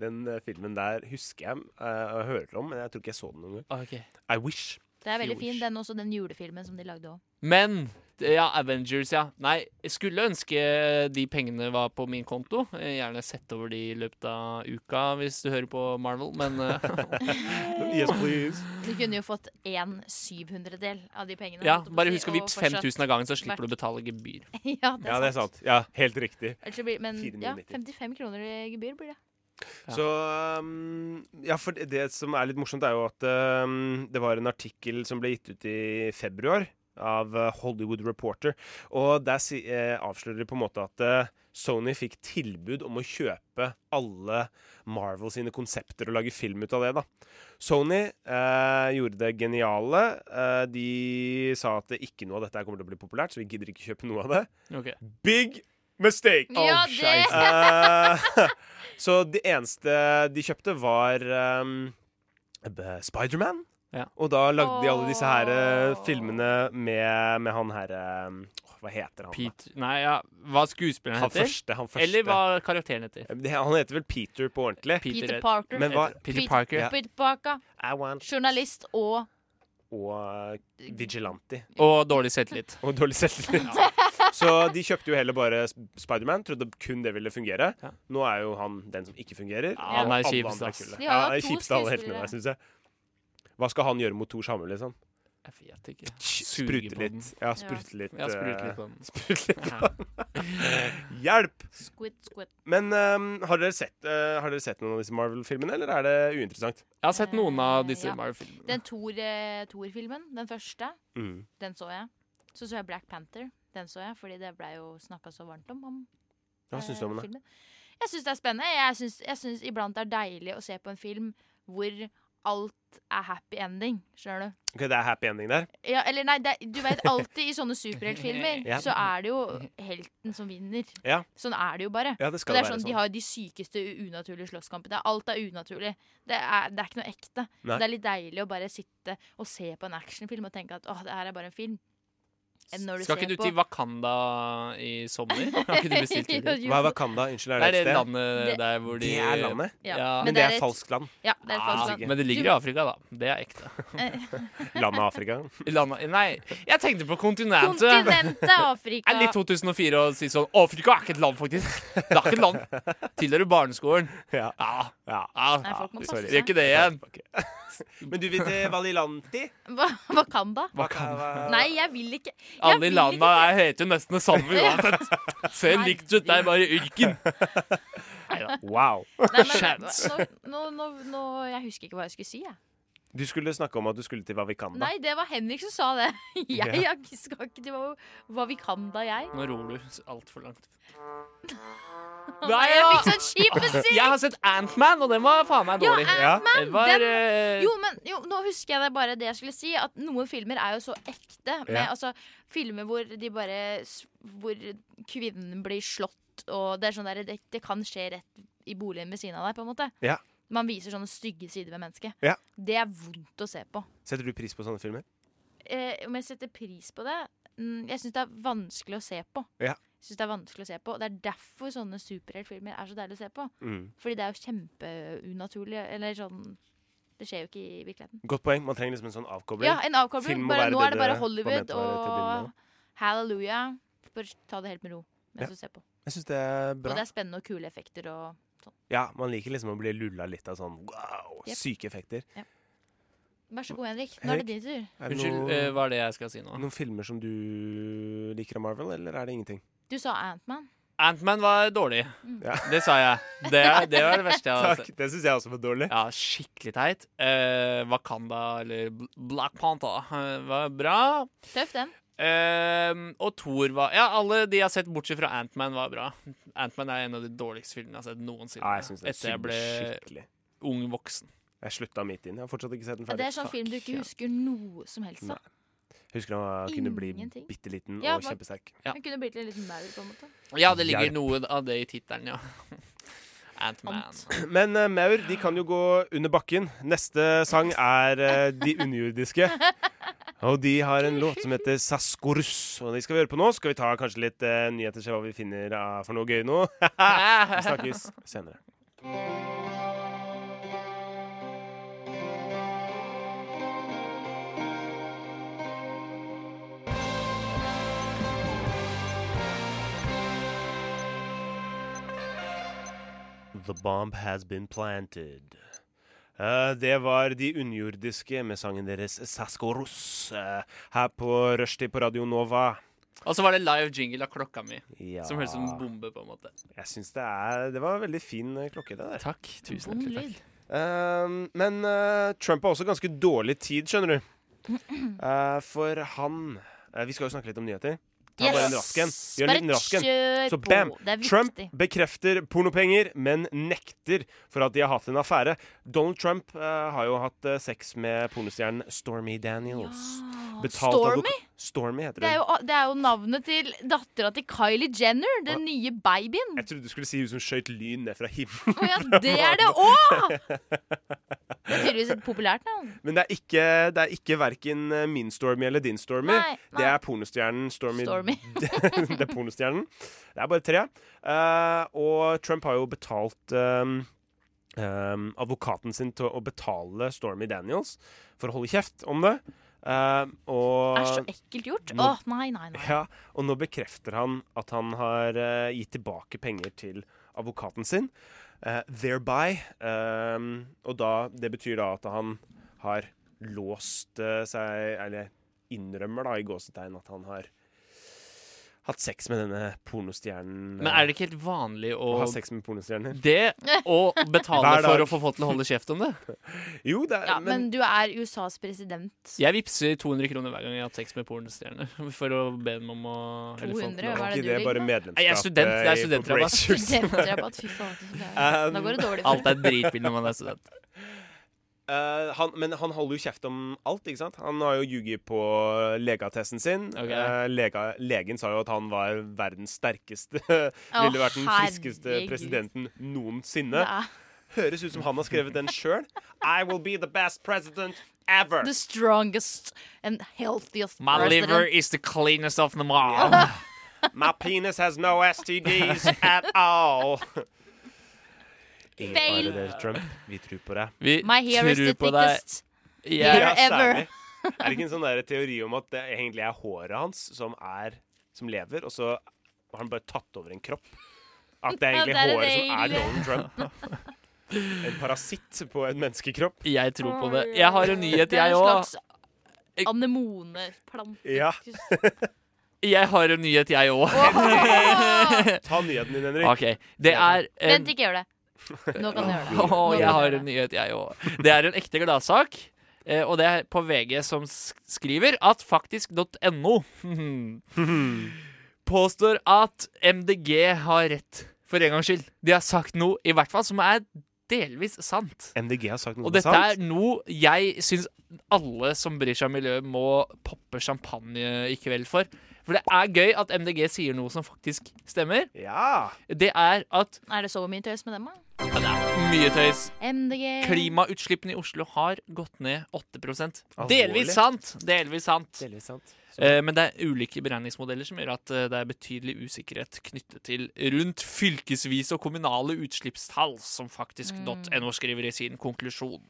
Den eh, filmen der husker jeg eh, og hørte om, men jeg tror ikke jeg så den noen gang. Ok. I wish. Det er veldig Fjords. fin, den også, den julefilmen som de lagde òg. Men ja, Avengers, ja. Nei, jeg skulle ønske de pengene var på min konto. Eh, Gjerne sett over de i løpet av uka, hvis du hører på Marvel, men eh, Yes, please. Du kunne jo fått en syvhundredel av de pengene. Ja, holdt jeg på å bare si, husk å og vips 5000 av gangen, så slipper du å vært- betale gebyr. fortsatt- Ja, Ja, det er sant. Ja, helt riktig. Ellers så blir- Men 490. ja, 55 kroner i gebyr blir det. Ja. Så um, Ja, for det- det som er litt morsomt, er jo at um, det var en artikkel som ble gitt ut i februar av uh, Hollywood Reporter, og der si, eh, avslører de på en måte at eh, Sony fikk tilbud om å kjøpe alle Marvel sine konsepter og lage film ut av det, da. Sony eh, gjorde det geniale. Eh, de sa at ikke noe av dette her kommer til å bli populært, så vi gidder ikke kjøpe noe av det. Ok. Big mistake! Ja, det- Eh, så det eneste de kjøpte, var um, B- Spiderman. Ja. Og da lagde de alle disse her eh, Åh. filmene med, med han her eh, åh, Hva heter han? da? Pete Nei, ja, hva skuespilleren Han heter? første. Han første. Eh, Eller hva karakteren heter? Det- Han heter vel Peter på ordentlig. Peter Peter, Parker. Men hva Peter Pete- Parker. Ja. Peter Parker, I want journalist og og eh, Vigilante. Og dårlig selvtillit. Og dårlig selvtillit. Så de kjøpte jo heller bare Sp- Spiderman. Trodde kun det ville fungere. Ja. Nå er jo han den som ikke fungerer. Ja, han og er alle kjipest, andre er ass. kule. De har Ja, jo han er to kjipest av alle heltene skuespillere. der, syns jeg. Hva skal han gjøre mot Thor Samuel, liksom? Jeg vet ikke. Suger Sprute på litt. Ja, sprute litt. eh, Ja, sprut litt på den. Sprute litt. Ja. Hjelp! Squid Squid. Men ehm, har, dere sett, eh, har dere sett noen av disse Marvel-filmene, eller er det uinteressant? Jeg har sett noen av disse Ja. Marvel-filmene. Den eh, Thor-filmen, den første, Mm. den så jeg. Så så jeg Black Panther. Den så jeg, fordi det blei jo snakka så varmt om. eh, om Hva syns du om det? Jeg syns det er spennende. Jeg syns, jeg syns iblant det er deilig å se på en film hvor alt er happy ending. Skjønner du? Ok, Det er happy ending der. Ja, eller nei, det, er- du vet alltid i sånne superheltfilmer Ja. så er det jo helten som vinner. Ja. Sånn er det jo bare. Ja, det Og skal det er være sånn, sånn. De har de sykeste u- unaturlige slåsskampene. Alt er unaturlig. Det er, det er ikke noe ekte. Nei. Det er litt deilig å bare sitte og se på en actionfilm og tenke at åh, det her er bare en film. Enn når du Skal ikke ser du til på Wakanda i sommer? Har ikke du bestilt Jo, det? jo. Hva er Wakanda? Unnskyld, er Det er det det et sted? landet Det- der hvor de Det er landet, Ja. Ja, men Men det det er er et- falskt land. Ja, det er Ah, faktisk sånn. men det ligger i Afrika, da. Det er ekte. Landet Afrika. Landet, nei, jeg tenkte på kontinentet. Kontinentet Afrika. Det er litt 2004 å si sånn Afrika er ikke et land, faktisk. Det er ikke et land. Tilhører barneskolen. Ja. Ja, ja. ja. Nei, folk må sorry. passe Gjør seg. ikke det igjen. Men du vil til Valilanti? Hva- Wakanda? Wakanda. Nei, jeg vil ikke. Jeg Alle i vil landa ikke. er- heter jo nesten det samme uansett. Ser likt ut, det er bare yrken. Wow. Nei, men, Chance. nå, nå, nå, nå, jeg husker ikke hva jeg skulle si. Jeg. Du skulle snakke om at du skulle til Vavikanda. Nei, det var Henrik som sa det. Jeg, jeg skal ikke til hva, hva vi kan da, jeg. Nå ror du altfor langt. Nei, Nei, jeg ja. fikk sånn kjip musikk! Jeg har sett Antman, og den var faen meg dårlig. Ja. Den var den- eh, Jo, men jo, nå husker jeg det bare det jeg skulle si. At noen filmer er jo så ekte. Med, Ja. altså, filmer hvor de bare s- Hvor kvinnen blir slått, og det er sånn der det, det kan skje rett i boligen ved siden av deg, på en måte. Ja. Man viser sånne stygge sider ved mennesket. Ja. Det er vondt å se på. Setter du pris på sånne filmer? Eh, om jeg setter pris på det mm, Jeg syns det er vanskelig å se på. Ja. Jeg synes Det er vanskelig å se på Det er derfor sånne superheltfilmer er så deilig å se på. Mm. Fordi det er jo kjempeunaturlig. Eller sånn Det skjer jo ikke i virkeligheten. Godt poeng. Man trenger liksom en sånn avkobling. Ja, en avkobling. Film må Bare, være nå det er det det var bare ment å Hollywood være til å begynne med. og hallelujah. Bare ta det helt med ro mens Ja. du ser på. Jeg syns det er Og bra. det er spennende og kule effekter og Ja, Man liker liksom å bli lulla litt av sånn wow, Jep. syke effekter. Vær så god, Henrik. Nå er det din tur. Er det Unnskyld, eh, noe, hva er det jeg skal si nå? noen filmer som du liker av Marvel, eller er det ingenting? Du sa Antman. Antman var dårlig. Mm. Ja. Det sa jeg. Det, er- det var det verste jeg har sett. Det syns jeg også var dårlig. altså- Ja, skikkelig teit. Eh, Wakanda, eller Bl- Black Panther, eh, var bra. Tøff, den. Eh, og Thor var Ja, alle de jeg har sett, bortsett fra Antman, var bra. Antman er en av de dårligste filmene jeg har sett noensinne. Ja, jeg syns det er Etter jeg synd ble skikkelig. ung voksen. Jeg slutta midt inn. Jeg har fortsatt ikke sett den Ja, ferdig. det er sånn Fuck, film du ikke ja. husker noe som helst av. Husker han kunne bli Ingenting. bitte liten Ja, og man- kjempesterk. Ja. Den kunne blitt en liten maur, på en måte. Ja, det ligger Hjelp. noe av det i tittelen, ja. Antman. Ant. Men eh, maur de kan jo gå under bakken. Neste sang er eh, De underjordiske. Og de har en låt som heter Saskorus. Og de skal vi høre på nå. Skal vi ta kanskje litt eh, nyheter, se hva vi finner av for noe gøy nå? Ah. vi snakkes senere. The bomb has been planted. Eh, det var De underjordiske med sangen deres Saskorus eh, her på Rushtid på Radio Nova. Og så var det live jingle av klokka mi, Ja. som høres ut som en bombe, på en måte. Jeg syns det er Det var en veldig fin eh, klokke, det der. Takk. Tusen Vond hjertelig takk. lyd. Ehm, men eh, Trump har også ganske dårlig tid, skjønner du. Eh, for han eh, Vi skal jo snakke litt om nyheter. Ta Yes. bare en rask en. Gjør en Bare liten rask en. kjør Så på. bam! Det er Trump viktig. bekrefter pornopenger, men nekter for at de har hatt en affære. Donald Trump eh, har jo hatt eh, sex med pornostjernen Stormy Daniels. Ja. Betalt advoka- Stormy? Stormy heter Det er, hun. jo, det er jo navnet til dattera til Kylie Jenner, den nye babyen. Jeg trodde du skulle si hun som skøyt lyn ned fra himmelen. Å ja, det er det òg! Det er tydeligvis et populært navn. Men det er ikke, det er ikke verken eh, min Stormy eller din Stormy. Nei, nei. Det er pornostjernen Stormy. Stormy. det er pornostjernen. Det er bare tre. Eh, og Trump har jo betalt ehm, ehm, advokaten sin til å betale Stormy Daniels for å holde kjeft om det. Ehm, og Det er så ekkelt gjort. Å, Nå- nei, nei, nei. ja, og nå bekrefter han at han har eh, gitt tilbake penger til advokaten sin. eh, thereby. ehm, og da, det betyr da at han har låst eh, seg Eller innrømmer da i gåsetegn at han har hatt sex med denne pornostjernen. Men er det ikke helt vanlig å Har sex med pornostjerner? Det å betale Hver dag. for å få folk til å holde kjeft om det? Jo, det er Ja, men men, du er USAs president. Jeg vippser 200 kroner hver gang jeg har hatt sex med pornostjerner. For å be dem om å eller folk 200, til Er å- hva er det ikke du det driver bare med? medlemskap Nei, jeg er student, det er eh, i studentrabatt. Corporations? Um, Studentrabatt, fy faen. det er- Nå går det dårlig for Alt er dritbillig når man er student. Eh, han, men han holder jo kjeft om alt. ikke sant? Han har jo ljuget på legeattesten sin. Ok. Eh, lega, legen sa jo at han var verdens sterkeste. Ville vært den friskeste herregud. presidenten noensinne. Det, er Høres ut som han har skrevet den sjøl. I will be the best president ever. the strongest and healthiest My president. liver is the cleanest of them all. My penis has no STDs at all. Ingen Fail. fare der, Trump. Vi tror på deg. Vi My hair is tror the på deg. thickest. Jeg, Ja. Ever. særlig. Er det ikke en sånn der teori om at det egentlig er håret hans som, er, som lever, og så har han bare tatt over en kropp? At det er egentlig Ja, det er håret det som er egentlig. Donald Trump? En parasitt på en menneskekropp? jeg tror på det. Jeg har en nyhet, Oh. Det er jeg en òg. slags anemoneplante. Ja. Jeg har en nyhet, jeg òg. Ta nyheten din, Henrik. OK. Det er en Vent, ikke gjør det. Nå kan du gjøre det. Åh, jeg Nå kan du har gjøre en det. nyhet, jeg òg. Det er en ekte gladsak. eh, Og det er på VG som sk- skriver at faktisk.no påstår at MDG har rett, for en gangs skyld. De har sagt noe, i hvert fall, som er delvis sant. MDG har sagt noe Og som er dette er sant. noe jeg syns alle som bryr seg om miljøet, må poppe champagne i kveld for. For det er gøy at MDG sier noe som faktisk stemmer. Ja. Det er at Er det så mye tøys med dem, da? ja, det er mye tøys. MDG. Klimautslippene i Oslo har gått ned 8 Alvorlig. Delvis sant! Delvis sant. Delvis sant. Eh, Men det er ulike beregningsmodeller som gjør at eh, det er betydelig usikkerhet knyttet til rundt fylkesvise og kommunale utslippstall, som faktisk.no skriver i sin konklusjon.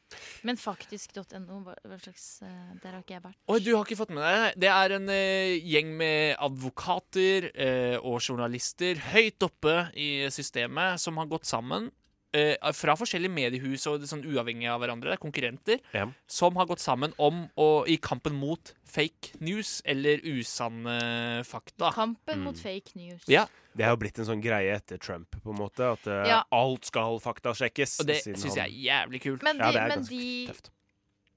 Men faktisk.no, hva hva slags eh, Der har ikke jeg vært. Oi, du har ikke fått med deg det? Det er en eh, gjeng med advokater eh, og journalister høyt oppe i systemet som har gått sammen. eh, fra forskjellige mediehus og sånn uavhengig av hverandre, det er konkurrenter, Ja. som har gått sammen om å, i kampen mot fake news eller usanne fakta. Kampen mot fake news. Mm. Ja, Det har jo blitt en sånn greie etter Trump, på en måte. At eh, Ja. alt skal faktasjekkes. Og det siden syns han- jeg er jævlig kult. Men de, Ja, det er men ganske de, tøft.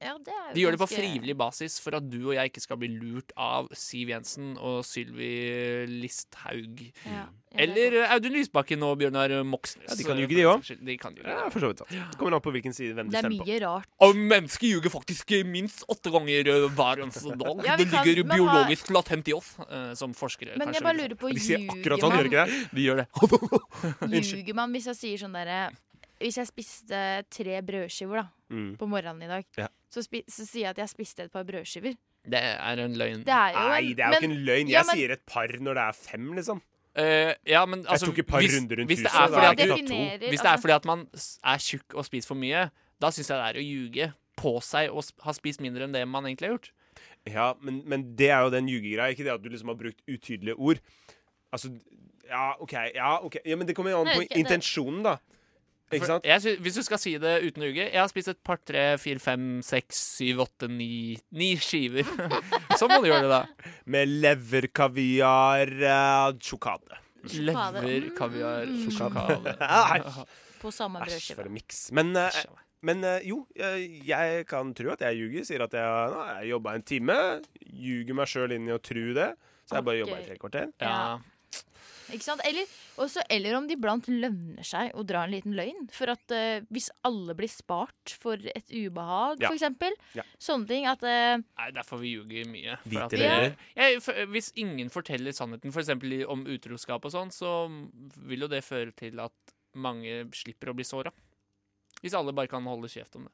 ja, det er jo De gjør det på ganske- frivillig basis for at du og jeg ikke skal bli lurt av Siv Jensen og Sylvi Listhaug. Ja, ja, det er Eller eh, godt. Audun Lysbakken og Bjørnar Moxnes. Ja, de kan ljuge, de også. Kanskje- De kan ljuge, Ja, ja. for så vidt sant. Det kommer an på hvilken side hvem du Det er stemmer på. mye rart. Og mennesker ljuger faktisk eh, minst åtte ganger eh, hver eneste dag. Ja, vi det kan- ligger men hva- biologisk latent i oss, eh, som forskere Men kanskje jeg bare vil lurer på, De sier akkurat sånn, gjør de ljuger ikke det? si. De gjør det. man, ljuger man hvis jeg sier sånn derre Hvis jeg spiste tre brødskiver da, Mm. på morgenen i dag, Ja. så, spi, så sier jeg at jeg spiste et par brødskiver. Det er en løgn. Det er jo en- Nei, det er jo ikke men- en løgn. Jeg ja, men- sier et par når det er fem, liksom. Eh, ja, men altså, tok et par hvis, runder rundt hvis det huset, er da fordi er at det du ikke definerer, Hvis det er altså, fordi at man s- er tjukk og spiser for mye, da syns jeg det er å ljuge på seg og s- ha spist mindre enn det man egentlig har gjort. Ja, men, men det er jo den ljugegreia, ikke det at du liksom har brukt utydelige ord. Altså, ja, OK. Ja, ok ja, Men det kommer jo an Nei, på ikke- det- intensjonen, da. Ikke For sant? jeg sy hvis du skal si det uten å ljuge Jeg har spist et par, tre, fire, fem, seks, syv, åtte, ni Ni skiver. så må du gjøre det, da. Med leverkaviar, eh, sjokade. Sjokade. Lever, kaviar, Mm. sjokade. Æsj! På samme Æsj, for brødskive. en miks. Men, eh, men eh, jo, eh, jeg kan tro at jeg ljuger. Sier at jeg har jobba en time. Ljuger meg sjøl inn i å tro det. Så jeg bare Ok. jobba i tre kvarter. Ja. Ikke sant? Eller, også, eller om det iblant lønner seg å dra en liten løgn. For at eh, hvis alle blir spart for et ubehag, Ja. for eksempel. Ja. Sånne ting at eh, Nei, derfor vi ljuger mye. For Hvite at- løgner. jeg, for, hvis ingen forteller sannheten, f.eks. om utroskap og sånn, så vil jo det føre til at mange slipper å bli såra. Hvis alle bare kan holde kjeft om det.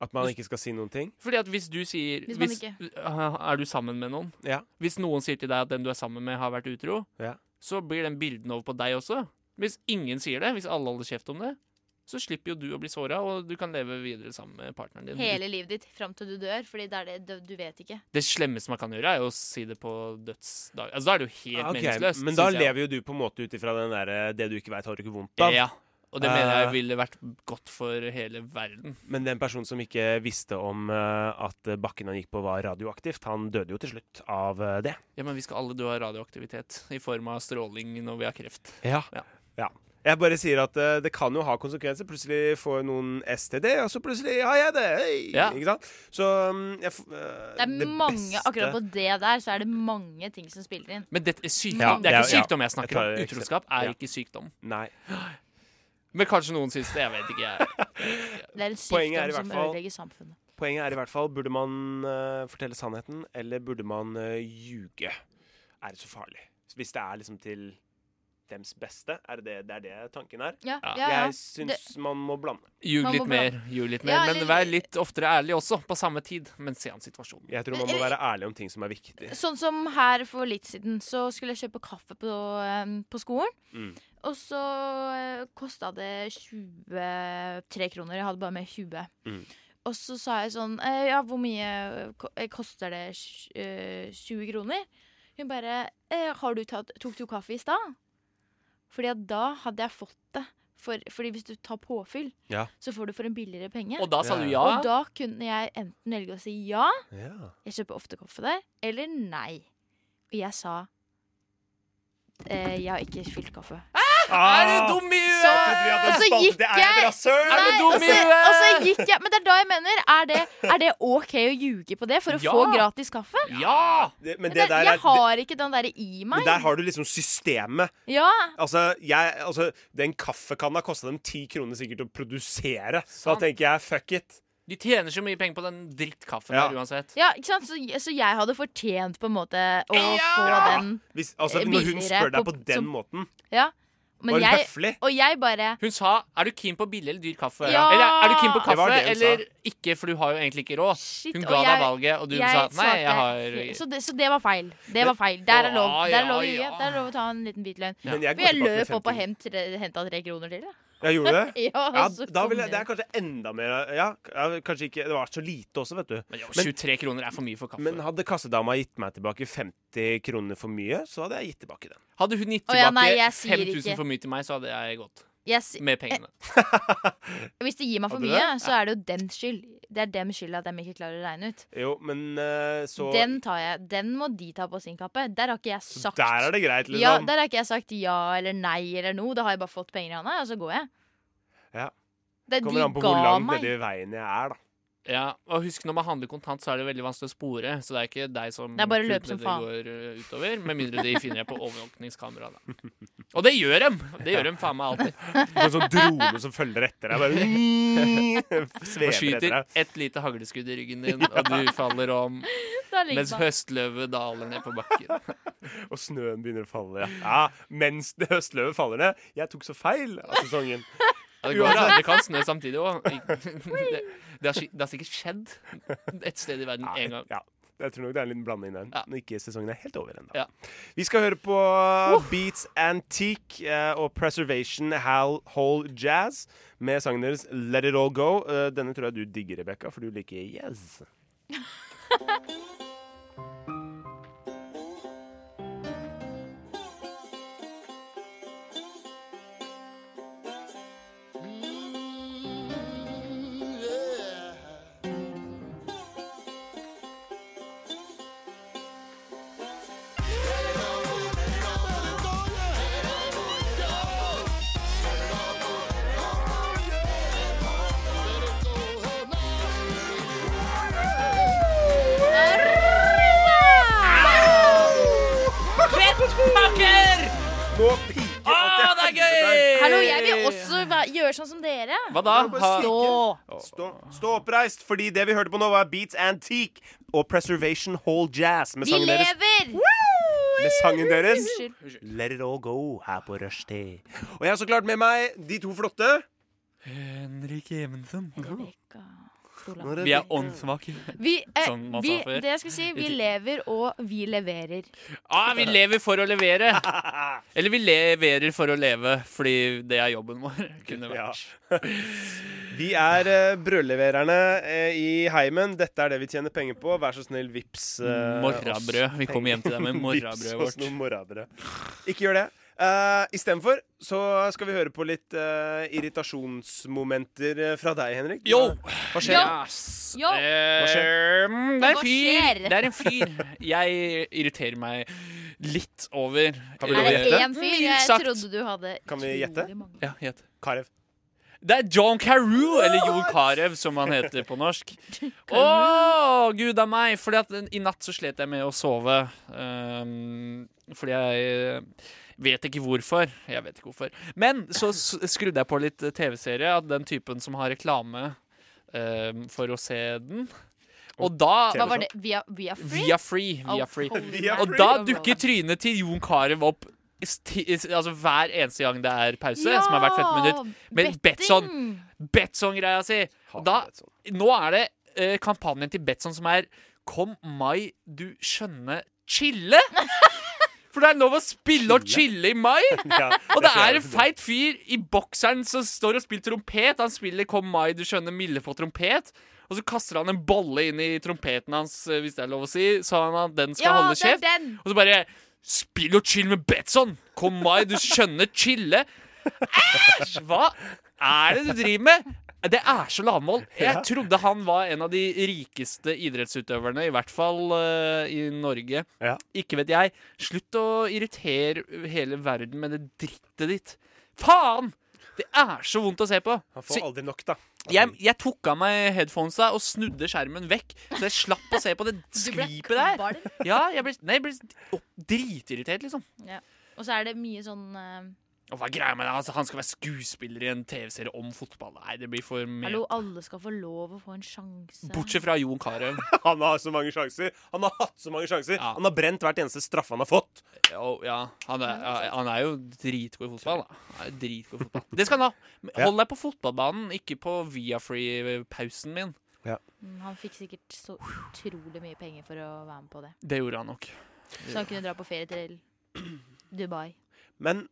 At man ikke skal si noen ting. Fordi at hvis du sier Hvis man ikke- Er du sammen med noen? Ja. Hvis noen sier til deg at den du er sammen med, har vært utro, Ja. så blir den bilden over på deg også. Hvis ingen sier det, hvis alle holder kjeft om det, så slipper jo du å bli såra, og du kan leve videre sammen med partneren din. hele livet ditt fram til du dør. Fordi det er det du, du vet ikke. Det slemmeste man kan gjøre, er jo å si det på dødsdag. Altså, da er det jo helt Ah, Ok, meningsløst. Men da synes jeg. lever jo du på en måte ut ifra den derre 'det du ikke veit, har du ikke vondt av'. Ja, og det mener jeg Eh. ville vært godt for hele verden. Men den personen som ikke visste om eh, at bakken han gikk på var radioaktivt, han døde jo til slutt av eh, det. Ja, men vi skal alle dø av radioaktivitet i form av stråling når vi har kreft. Ja. Ja. Jeg bare sier at eh, det kan jo ha konsekvenser. Plutselig får noen STD, og så plutselig har jeg det! Hei! Ja. Ikke sant? Så mm, jeg, f- eh, Det er mange, beste- Akkurat på det der så er det mange ting som spiller inn. Men dette er sykdom. Ja, det er ikke ja, ja. sykdom jeg snakker Jeg tar om. det ikke. Utroskap er Ja. ikke sykdom. Nei. Men kanskje noen syns det. Jeg vet ikke. jeg. Det er en Poenget er i sykdom hvert som fall- ødelegger samfunnet. Poenget er i hvert fall burde man eh, fortelle sannheten, eller burde man eh, ljuge? Er det så farlig? Hvis det er liksom til dems beste, er det det, det, er det tanken er? Ja, Ja. ja, ja. Jeg syns man må blande. Ljug Man må litt mer. Ljug litt mer. Ja, Men eller- vær litt oftere ærlig også, på samme tid. Men se an situasjonen. Jeg tror man må være ærlig om ting som er viktig. Sånn som her for litt siden, så skulle jeg kjøpe kaffe på, eh, på skolen. Mm. Og så uh, kosta det 23 kroner. Jeg hadde bare med 20. Mm. Og så sa jeg sånn eh, Ja, hvor mye ko- eh, koster det? Tj- eh, 20 kroner? Hun bare eh, har du tatt, Tok du kaffe i stad? Fordi at da hadde jeg fått det. For, fordi hvis du tar påfyll, Ja. så får du for en billigere penge. Og da sa du ja. Og da kunne jeg enten velge å si ja, Ja. jeg kjøper ofte kaffe der, eller nei. Og jeg sa eh, jeg har ikke fylt kaffe. Ah! Er du dum i huet?! Og så gikk jeg- rasshøl! Er du dum og, i så, huet? og så gikk altså, jeg Men det er da jeg mener. Er det, er det OK å ljuge på det for å Ja. få gratis kaffe? Ja! Det- Men Men det det, der er jeg har ikke den derre i men meg. der har du liksom systemet. Ja, Altså, jeg, altså Den kaffekanna kosta dem ti kroner sikkert å produsere. Så Sant. da tenker jeg fuck it. De tjener så mye penger på den drittkaffen Ja. der uansett. ja ikke sant? Så, så jeg hadde fortjent på en måte å få Ja. den. Hvis, altså, Eh, når hun billigere spør deg på på- den som- måten, Ja. Men var hun jeg, høflig? og jeg bare Hun sa 'er du keen på billig eller dyr kaffe'? Ja! Eller 'er du keen på Det var kaffe det hun sa. eller ikke', for du har jo egentlig ikke råd. Shit. Hun og ga jeg, deg valget, og du sa jeg 'nei, jeg svarte- har så det, så det var feil. Det var feil. Der er lov, Å, der er lov å ja, ljuge. ja. Der er lov å ta en liten bit løgn. Men jeg For jeg går tilbake med løp opp og 50. hent tre- henta tre kroner til. jeg. Ja, gjorde du det? Ja, Ja, og så da kom vil jeg, jeg- det er kanskje enda mer Ja, ja, kanskje ikke Det var så lite også, vet du. Men jo, 23 kroner er for mye for kaffe. Men hadde kassedama gitt meg tilbake 50 kroner for mye, så hadde jeg gitt tilbake den. hadde hun gitt Å, ja, nei, tilbake jeg sier 5000 ikke. for mye til meg, så hadde jeg gått Jeg si- med pengene. hvis de gir meg for Hadde du mye, så er det jo dems skyld. Det er dems skyld at de ikke klarer å regne ut. Jo, men eh, så Den tar jeg. Den må de ta på sin kappe. Der har ikke jeg Så sagt der er det greit, liksom. ja, der har ikke jeg sagt ja eller nei eller noe. Da har jeg bare fått penger i hånda, og så går jeg. Ja. Det, de Kommer an på hvor ga langt meg. nedi veien jeg er, da. Ja, og husk Når man handler kontant, så er det veldig vanskelig å spore. Så det er ikke deg som Det er bare å løpe som kulene faen. går eh, utover. Med mindre de finner deg på overvåkningskamera. da. Og det gjør dem! Det gjør dem faen meg alltid. På en sånn drone som følger etter deg. Bare Og svever etter skyter deg. et lite hagleskudd i ryggen din, og du faller om. Da liksom. ligger Mens man- høstløvet daler ned på bakken. Og snøen begynner å falle. Ja, ja Mens det høstløvet faller ned. Jeg tok så feil av sesongen. Ja, det, går, det kan snø samtidig òg. Det, det, har skik- det har sikkert skjedd et sted i verden Nei, én gang. Ja. Jeg tror nok det er en liten blanding der. Ja. Når ikke sesongen er helt over ennå. Ja. Vi skal høre på uh, Beats Antique eh, og Preservation Hal Hole Jazz med sangen deres Let It All Go. Eh, Denne tror jeg du digger, Rebekka, for du liker Yes. Pakker! Nå piker Å, det er gøy! Hallo, jeg vil også væ- gjøre sånn som dere. Hva da? Ha, Stå. Stå, stå oppreist, fordi det vi hørte på nå, var Beats Antique og Preservation Hall Jazz med De sangen deres. lever! Med sangen deres Unnskyld. Let It All Go her på Rushdie. Og jeg har så klart med meg de to flotte. Henrik Evensen. Rebecca, Solan. Vi er åndssvake. Vi, eh, Som Sånn man vi, sa før. det jeg skulle si, vi lever og vi leverer. Ah, vi lever for å levere. Eller vi leverer for å leve, fordi det er jobben vår. Kunne Ja. vært. Vi er eh, brødlevererne eh, i heimen. Dette er det vi tjener penger på. Vær så snill, vips eh, Morrabrød. oss Vi kommer hjem til deg med penger. morrabrødet Vips oss vårt. noe morrabrød. Ikke gjør det. Uh, Istedenfor så skal vi høre på litt eh, irritasjonsmomenter eh, fra deg, Henrik. Yo! Hva skjer? Yes. Yo. Hva Eh, Det er en Hva fyr. skjer? Det er en fyr. Jeg irriterer meg litt over Kan vi Er love det gjette? én fyr? Mildt Jeg sagt. trodde du hadde Kan vi utrolig gjette? mange. Ja, gjett. Karev. Det er John Carew, eller Jon Carew som han heter på norsk. Å, gud a meg! Fordi at i natt så slet jeg med å sove. Ehm, fordi jeg eh, vet ikke hvorfor. Jeg vet ikke hvorfor. Men så s- skrudde jeg på litt eh, TV-serie av den typen som har reklame ehm, for å se den. Og da Hva var det? Via, via Liksom. Free? Via free. Via free. Via Og da dukker trynet til Jon Carew opp sti- altså hver eneste gang det er pause, som har vært 15 minutter. Men Betsson. Betson-greia si. Og Da, nå er det eh, kampanjen til Betson som er Kom mai, du skjønne chille! For det er lov å spille og chille i mai! Og det er en feit fyr i bokseren som står og spiller trompet. Han spiller 'Kom mai, du skjønner milde' på trompet. Og så kaster han en bolle inn i trompeten hans, eh, hvis det er lov å si, så han at den skal Ja, holde det er kjeft. den! Og så bare Spill og chill med Betson! Kom mai, du skjønner chille! Æsj! Hva er det du driver med? Det er så lavmål. Jeg trodde han var en av de rikeste idrettsutøverne, i hvert fall eh, i Norge. Ja. Ikke vet jeg. Slutt å irritere hele verden med det drittet ditt. Faen! Det er så vondt å se på. Han Så får aldri nok, da. jeg, jeg tok av meg headphonesa og snudde skjermen vekk, så jeg slapp å se på det skvipet der. kvalm. Ja, jeg ble, nei, jeg ble opp- dritirritert, liksom. Og så er det mye sånn eh, Og hva er greia med det? Altså, han skal være skuespiller i en TV-serie om fotball. Nei, det blir for mye. Hallo, alle skal få lov å få en sjanse. Bortsett fra Jon Carew. Han har så mange sjanser. Han har hatt så mange sjanser. Ja. Han har brent hvert eneste straffe han har fått. Jo, ja, han er, ja, han er jo dritgod i fotball. Da. Han er dritgod i fotball. Det skal han ha. Men Hold deg på fotballbanen, ikke på Viafree-pausen min. Mm, Han fikk sikkert så utrolig mye penger for å være med på det. Det gjorde han nok. Så han kunne dra på ferie til Dubai. Men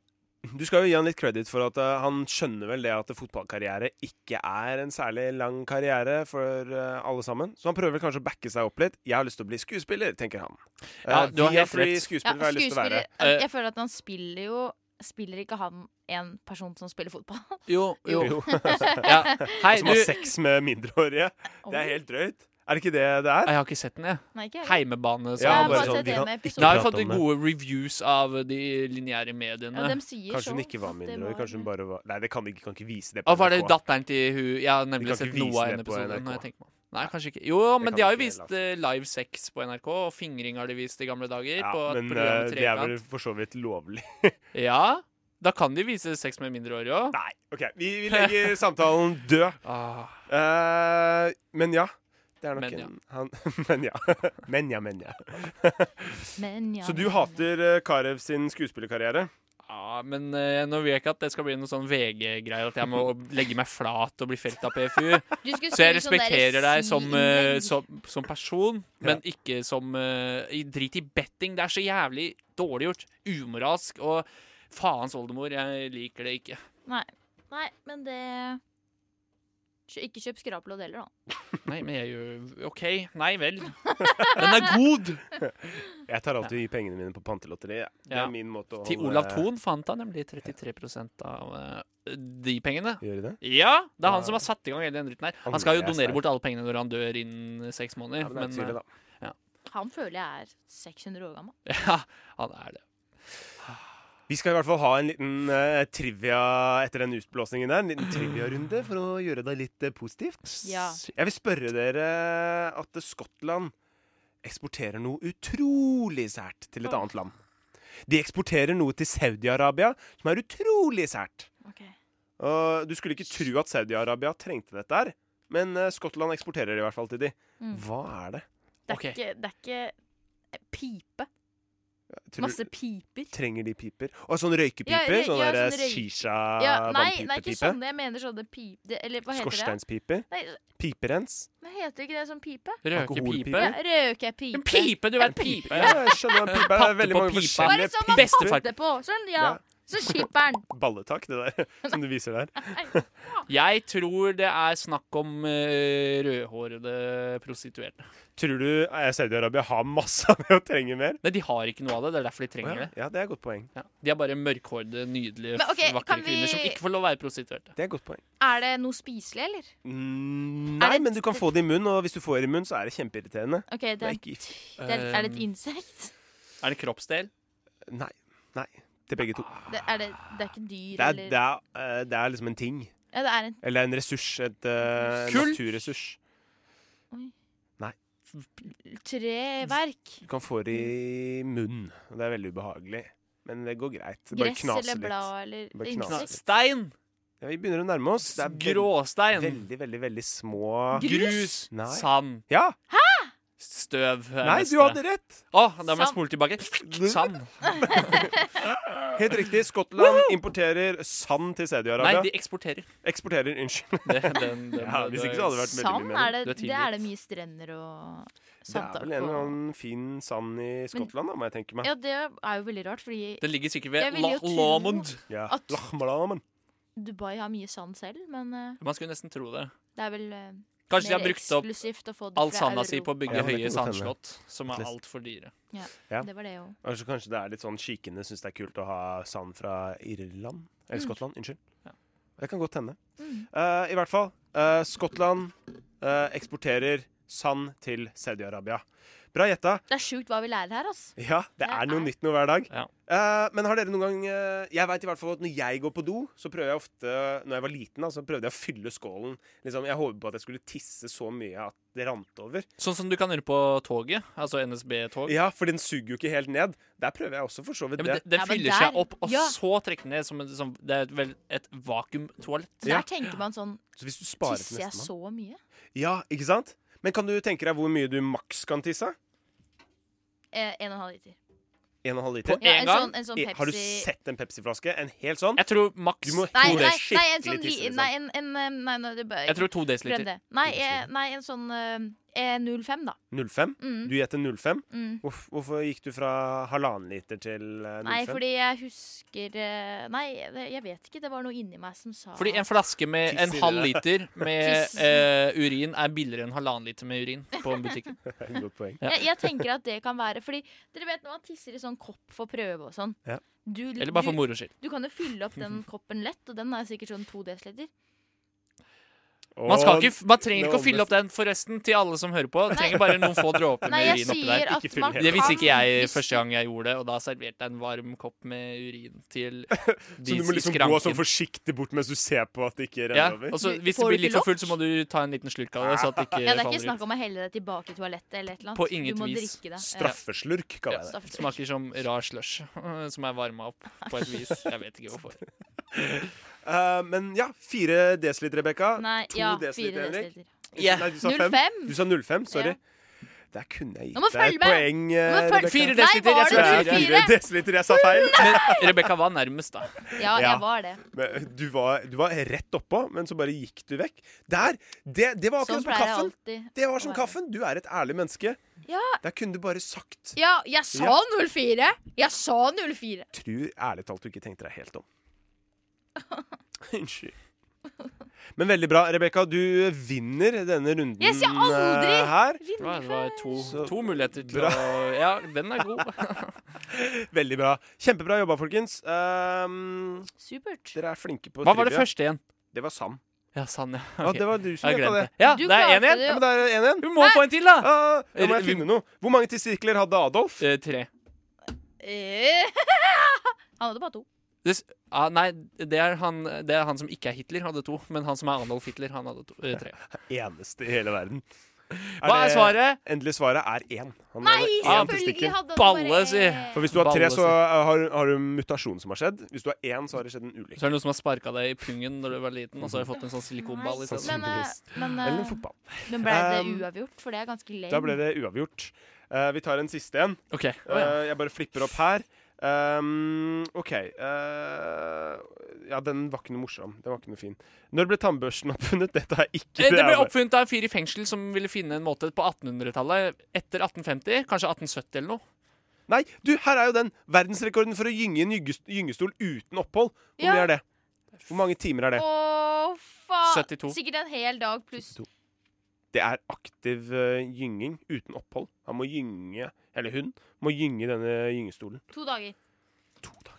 du skal jo gi han litt credit for at eh, han skjønner vel det at fotballkarriere ikke er en særlig lang karriere for eh, alle sammen. Så han prøver kanskje å backe seg opp litt. 'Jeg har lyst til å bli skuespiller', tenker han. Ja, Eh, du har via helt free rett. Ja, skuespiller har jeg lyst til å skuespiller være. Eh. Jeg føler at han spiller jo Spiller ikke han en person som spiller fotball? Jo, jo. Jo. Ja. Hei, Som du. har sex med mindreårige. Det er helt drøyt. Er det ikke det det er? Jeg har ikke sett den, jeg. Nei, ikke heller. Heimebane. jeg Ja, har sa bare bare sånn, sett vi en kan med ikke episode. Det har prate jo fått om det. gode reviews av de lineære mediene. Ja, dem sier Kanskje hun så ikke var at det mindreårig. var- Kanskje hun bare var Nei, det kan de ikke, kan ikke vise det. Og var det NRK. datteren til hun Jeg har Vi nemlig kan sett ikke vise noe av en det på episode. NRK. Når jeg tenker meg om. Nei, kanskje ikke. Jo, men kan de har jo ikke vist eh, live sex på NRK, og fingring har de vist i gamle dager. Ja, på et men program eh, med det er vel trekant. for så vidt lovlig. Ja, da kan de vise sex med mindreårige òg. Nei, OK. Vi, vi legger samtalen død. Ah, Eh, men ja. Det er nok Men ja. en han, Men ja. Men ja, men ja. Men ja, Så du men- hater eh, Karev sin skuespillerkarriere? ah, men eh, nå vil jeg ikke at det skal bli noe sånn VG-greie, at jeg må legge meg flat og bli felt av PFU. Du skulle Så jeg skrive sånn der respekterer deg som, eh, si-innlegg. som, som person, men ikke som eh, i- Drit i betting. Det er så jævlig dårlig gjort. Umoralsk. Og faens oldemor, jeg liker det ikke. Nei. Nei, men det Kjø- Ikke kjøp skrapelodd heller, da. Nei, men jeg gjør OK. Nei vel. Den er god! Jeg tar alltid pengene mine på pantelotteriet. jeg. Det Ja. er min måte å Til holde- Olav Thon fant han nemlig 33 av eh, de pengene. Gjør de det? Ja! Det er han som har satt i gang hele den dritten her. Han skal jo Andre er donere sterk. bort alle pengene når han dør innen seks måneder. Ja, men det er tydelig, men, da. Han føler jeg er 600 år gammel. eh, ja, han er det. Vi skal i hvert fall ha en liten eh, trivia etter den utblåsningen der. En liten triviarunde for å gjøre deg litt eh, positivt. Ja. Jeg vil spørre dere at Skottland eksporterer noe utrolig sært til et annet land. De eksporterer noe til Saudi-Arabia som er utrolig sært. Ok. Og du skulle ikke tro at Saudi-Arabia trengte dette her, men eh, Skottland eksporterer det i hvert fall til de. Mm. Hva er det? Det er, Ok. ikke, det er ikke pipe. Tror, Masse piper. Trenger de piper? Og sånn røykepiper? Ja, ja, sånn ja, der sånn røy- Ah, Ja, nei, nei, ikke shisha-vannpipepipe? sånne. Jeg mener sånne pip... Det, eller hva heter det? Skorsteinspiper? Nei, Piperens? men heter ikke det sånn pipe? Røkepipe. Alkoholpipe. Ja, Røkepipe. En pipe, du er en pipe. Ja, jeg skjønner hva en pipe er. Det er. Patte Veldig på mange pipa. Bare forskjellige sånn piper. man Bestefar. fatter på. Sånn, ja. Ja. Så skipper den. Balletak, det der som du viser der. Jeg tror det er snakk om eh, rødhårede prostituerte. Tror du eh, Saudi-Arabia har masse av det og trenger mer? Nei, de har ikke noe av det. Det er derfor de Å trenger Ja, det. ja, det er et godt poeng. Ja. De er bare mørkhårede, nydelige, Men ok, vakre kan vi- kvinner som ikke får lov å være prostituerte. Det er et godt poeng. Er det noe spiselig, eller? Mm, Er Nei, det- men du kan få det i munnen, og hvis du får det i munnen, så er det kjempeirriterende. Ok, det Det er, er ikke gift. det er, er det et Um, insekt? Er det kroppsdel? Nei. Nei. Til begge to. Det er, det, det er ikke dyr, Det er, eller det, er, eh, det er liksom en ting. Ja, det er en Eller en ressurs. Et eh, Kull? naturressurs. treverk. Du kan få det i munnen. og Det er veldig ubehagelig. Men det går greit. Det bare Gress knaser eller litt. blad eller Bare det er knas. insekt. Stein! Ja, vi begynner å nærme oss. Det er veldig, Gråstein. veldig, veldig, veldig små Grus. Nei. Sand. Ja! Støv. er Nei, neste. du hadde rett! Å, da må jeg Sand. spole tilbake. Sand. Helt riktig. Skottland importerer sand til Nei, Saudi-Arabia. de eksporterer. Eksporterer, unnskyld. Det, den, den, Ja, hvis ikke så hadde det vært veldig mye Sand mer. er det, Du er det er tidlig. det mye strender og Det er vel sandtak en eller og annen fin sand i Skottland, da, må jeg tenke meg. Ja, det er jo veldig rart, fordi Den ligger sikkert Jeg ved ville La jo tro- Lomond. Ja. At- Lahmalamen. Dubai har mye sand selv, men eh, Man skulle nesten tro det. det er vel eh, Kanskje de har mer brukt opp eksklusivt å få det all fra sanda si på å Europa. bygge Ja, det kan høye godt hende. sandslott, som er altfor dyre. Ja. Det var det jo. Altså, kanskje det er litt sånn kikene syns det er kult å ha sand fra Irland? Eller Skottland, unnskyld. Ja. Det kan godt hende. Mm. Eh, I hvert fall. eh, Skottland eh, eksporterer sand til Saudi-Arabia. Bra gjetta. Det er sjukt hva vi lærer her, altså. Ja, det Det er noe er- nytt noe hver dag. Ja. Eh, men har dere noen gang eh, Jeg vet i hvert fall at når jeg går på do, så prøver jeg ofte Når jeg var liten, da, så prøvde jeg å fylle skålen. Liksom, jeg håpet på at jeg skulle tisse så mye at det rant over. Sånn som du kan gjøre på toget, altså NSB-tog. Ja, Ja, for den suger jo ikke helt ned. Der prøver jeg også, for så vidt. men det. det, det Ja, men fyller der- seg opp, og ja. så trekker den ned som, en- som Det er vel et vakuumtoalett. Der Ja. tenker man sånn Så hvis du sparer til Tisser jeg nestemann så mye? Ja, ikke sant? Men kan du tenke deg hvor mye du maks kan tisse? Eh, en og en halv liter. En og en halv På liter? Ja, en en gang? sånn, en sånn E- Pepsi Har du sett en Pepsi-flaske? En hel sånn? Jeg tror maks Du må Nei, tro det nei, er nei, en sånn skikkelig tisse, li- liksom. Nei, en, en, eh, nei, nei, det bør Jeg tror to Glem desiliter. det. Nei, Liter eh, nei, en sånn eh, eh, 05, da. 05? Mm, Du gjetter 05? mm. Hvorf, hvorfor gikk du fra halvannen liter til eh, 05? Nei, fordi jeg husker eh, Nei, det- jeg vet ikke. Det var noe inni meg som sa Fordi en flaske med Tiss en i det halv der. liter med Tiss. eh, urin er billigere enn halvannen liter med urin på butikken. Godt poeng. Ja. jeg, jeg tenker at det kan være Fordi dere vet når man tisser i sånn kopp for prøve og sånn. Ja. Du, Eller bare for du, moro skyld. du kan jo fylle opp den koppen lett, og den er sikkert sånn to desiliter. Man, skal Og ikke, man trenger det ikke å fylle opp den, forresten, til alle som hører på. Trenger bare noen få dråper Nei, med jeg urin oppi der. sier at Ikke fyll man hele. kan Det visste ikke jeg hvis- første gang jeg gjorde det, og da serverte jeg en varm kopp med urin til Så de du må i liksom gå sånn skranken. forsiktig bort mens du ser på at det ikke renner Ja, over? og så Du- hvis får det du blir litt ikke for fullt, så må du ta en liten slurk av det. Så at det ikke Ja, Det er ikke faller ut. snakk om å helle deg tilbake i toalettet eller et eller annet. På inget du må vis. drikke det. Ja. Straffeslurk, kaller jeg det. Straff. Smaker som rar slush, som er varma opp på et vis. Jeg vet ikke hvorfor. Eh, men ja, fire desiliter, Rebekka. Nei, To ja, desiliter, Eh, fire Henrik. desiliter. Nei, du sa fem. 05? Du sa 05, sorry. Ja. Der kunne jeg Nå må gitt deg følge et med. poeng. eh, Nå må følge- Rebecca. Fire Nei, desiliter. Jeg var Det det er tror fire? fire. fire desiliter, jeg sa feil. Men Rebekka var nærmest, da. Ja, Ja. jeg var det. Men du, var, du var rett oppå, men så bare gikk du vekk. Der! Det, det var akkurat som Sånn pleier jeg kaffen. alltid. Det var å som være. kaffen. Du er et ærlig menneske. Ja. Der kunne du bare sagt Ja, jeg sa 04! Jeg sa 04! Tror ærlig talt du ikke tenkte deg helt om. Unnskyld. Men veldig bra, Rebekka. Du vinner denne runden Yes, jeg aldri- eh, her. Det var, det var to, Så to muligheter til bra. å Ja, den er god. Veldig bra. Kjempebra jobba, folkens. Ehm, Supert. dere er flinke på Hva var det trivia. første igjen? Det var Sam. Ja, sann, ja. Ja, Ok. det var du som Jeg gjetta glemte det. det. Ja, Du det er én klarte igjen. det. Ja, men det er én igjen. Vi må få en til, da! Ah, nå må jeg Vi- finne noe. Hvor mange testikler hadde Adolf? Eh, tre. Eh, Han hadde bare to. Ah, nei, det er, han, det er han som ikke er Hitler, hadde to. Men han som er Arnold Hitler, han hadde to, eh, tre. Eneste i hele verden. Hva er det- svaret? Endelige svaret er én. Han Nei, hadde én selvfølgelig testikkel. hadde han Balle, bare sier. For hvis du har tre, Balle, så sier. eh, har, har du en mutasjon som har skjedd. Hvis du har én, så har det skjedd en ulykke. Så er det noen som har sparka deg i pungen når du var liten, og så har du fått en sånn silikonball i stedet. Men, eh, men, Eller en eh, fotball. men ble det Um, uavgjort? For det er ganske lame. Da ble det uavgjort. Eh, vi tar en siste en. OK. Å, ja. Eh, jeg bare flipper opp her. Um, OK eh, Ja, den var ikke noe morsom. Den var ikke noe fin. Når ble tannbørsten oppfunnet? Dette er ikke Eh, Det ble jeg- oppfunnet av en fyr i fengsel som ville finne en måte på 1800-tallet. Etter 1850, kanskje 1870 eller noe. Nei, du, her er jo den! Verdensrekorden for å gynge en gyngest- gyngestol uten opphold. Hvor Ja. mye er det? Hvor mange timer er det? Å, faen! 72. Sikkert en hel dag pluss Det er aktiv eh, gynging uten opphold. Han må gynge, eller hun, må gynge denne gyngestolen. to dager. To dager.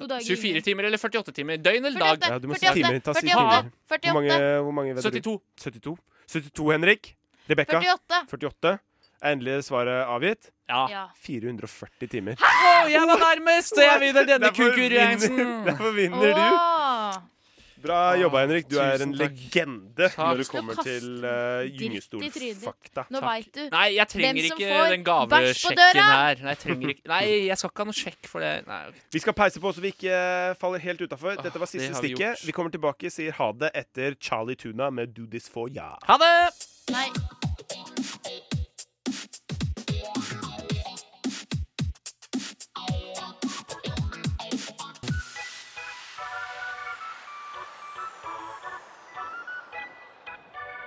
To dager 24 timer eller 48 timer. Døgn eller dag? Ja, du må si 48, timer. Ta si 48, timer. 48, Hvor mange, hvor mange vet 72. du? 72. 72, Henrik. Rebekka. 48. 48. Er endelig svaret avgitt. Ja. Ja. 440 timer. Å, jeg var nærmest! Så jeg vinner denne Derfor vinner- konkurransen. Derfor vinner du. Åh. Bra jobba, Henrik. Du er en Tusen takk. legende når det Skal kommer kaste til uh, dritt i trynet. gyngestolfakta. Nå Takk. veit du. Nei, jeg trenger Hvem som ikke får den bæsj på gavesjekken døra? her. Nei, jeg trenger ikke Nei, jeg skal ikke ha noe sjekk for det. Nei, ok. Vi skal peise på så vi ikke eh, faller helt utafor. Dette var det siste har vi stikket. gjort. Vi kommer tilbake, sier ha det etter Charlie Tuna med Do This For Ya. Ha det! Nei.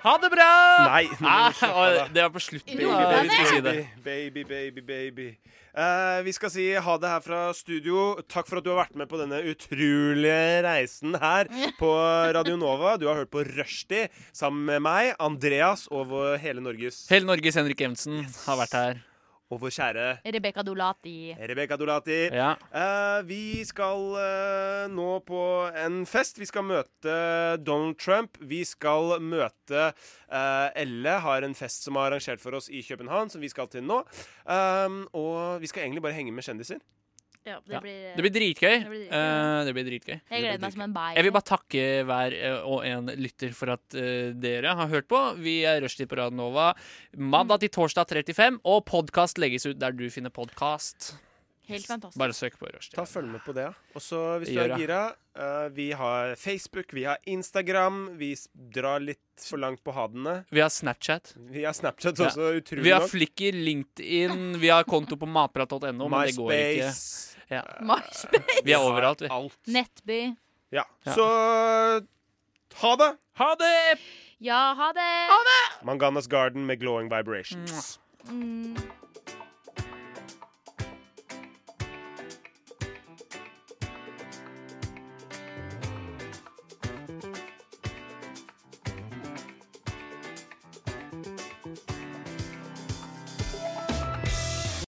Ha det bra! Nei, nå må vi Ah, slutte, da. det var på slutten. Jo, da, det vi skulle si det. Baby, baby, baby, baby. Eh, vi skal si ha det her fra studio. Takk for at du har vært med på denne utrolige reisen her på Radio Nova. Du har hørt på Rushdie sammen med meg, Andreas og vår, hele Norges Hele Norges Henrik Evensen har vært her. og vår kjære Rebekka Dolati. Rebekka Dolati. Ja. Eh, vi skal eh, nå på en fest. Vi skal møte Donald Trump. Vi skal møte eh, Elle, har en fest som er arrangert for oss i København, som vi skal til nå. Um, og vi skal egentlig bare henge med kjendiser. Ja, det Ja. blir, Det blir dritgøy. Det blir dritgøy. Eh, det blir dritgøy. Jeg gleder meg som en bayer. Jeg vil bare takke hver eh, og en lytter for at eh, dere har hørt på. Vi er Rushtid på Radio Nova mandag til torsdag 35, og podkast legges ut der du finner podkast. Helt fantastisk. Bare søk på Rushtid. Ta Følg med på det. ja. Og så hvis du Gjør er det. gira eh, Vi har Facebook, vi har Instagram. Vi s- drar litt for langt på hadene. Vi har Snapchat. Vi har Snapchat Ja. også, utrolig Vi har nok. Flikker, LinkedIn, vi har konto på matprat.no, men det går ikke. MySpace. Ja. Marsby. Vi er overalt, vi. Alt. Nettby. Ja. Ja. Så ha det! Ha det! Ja, ha det! Manganas Garden med glowing vibrations. Mm.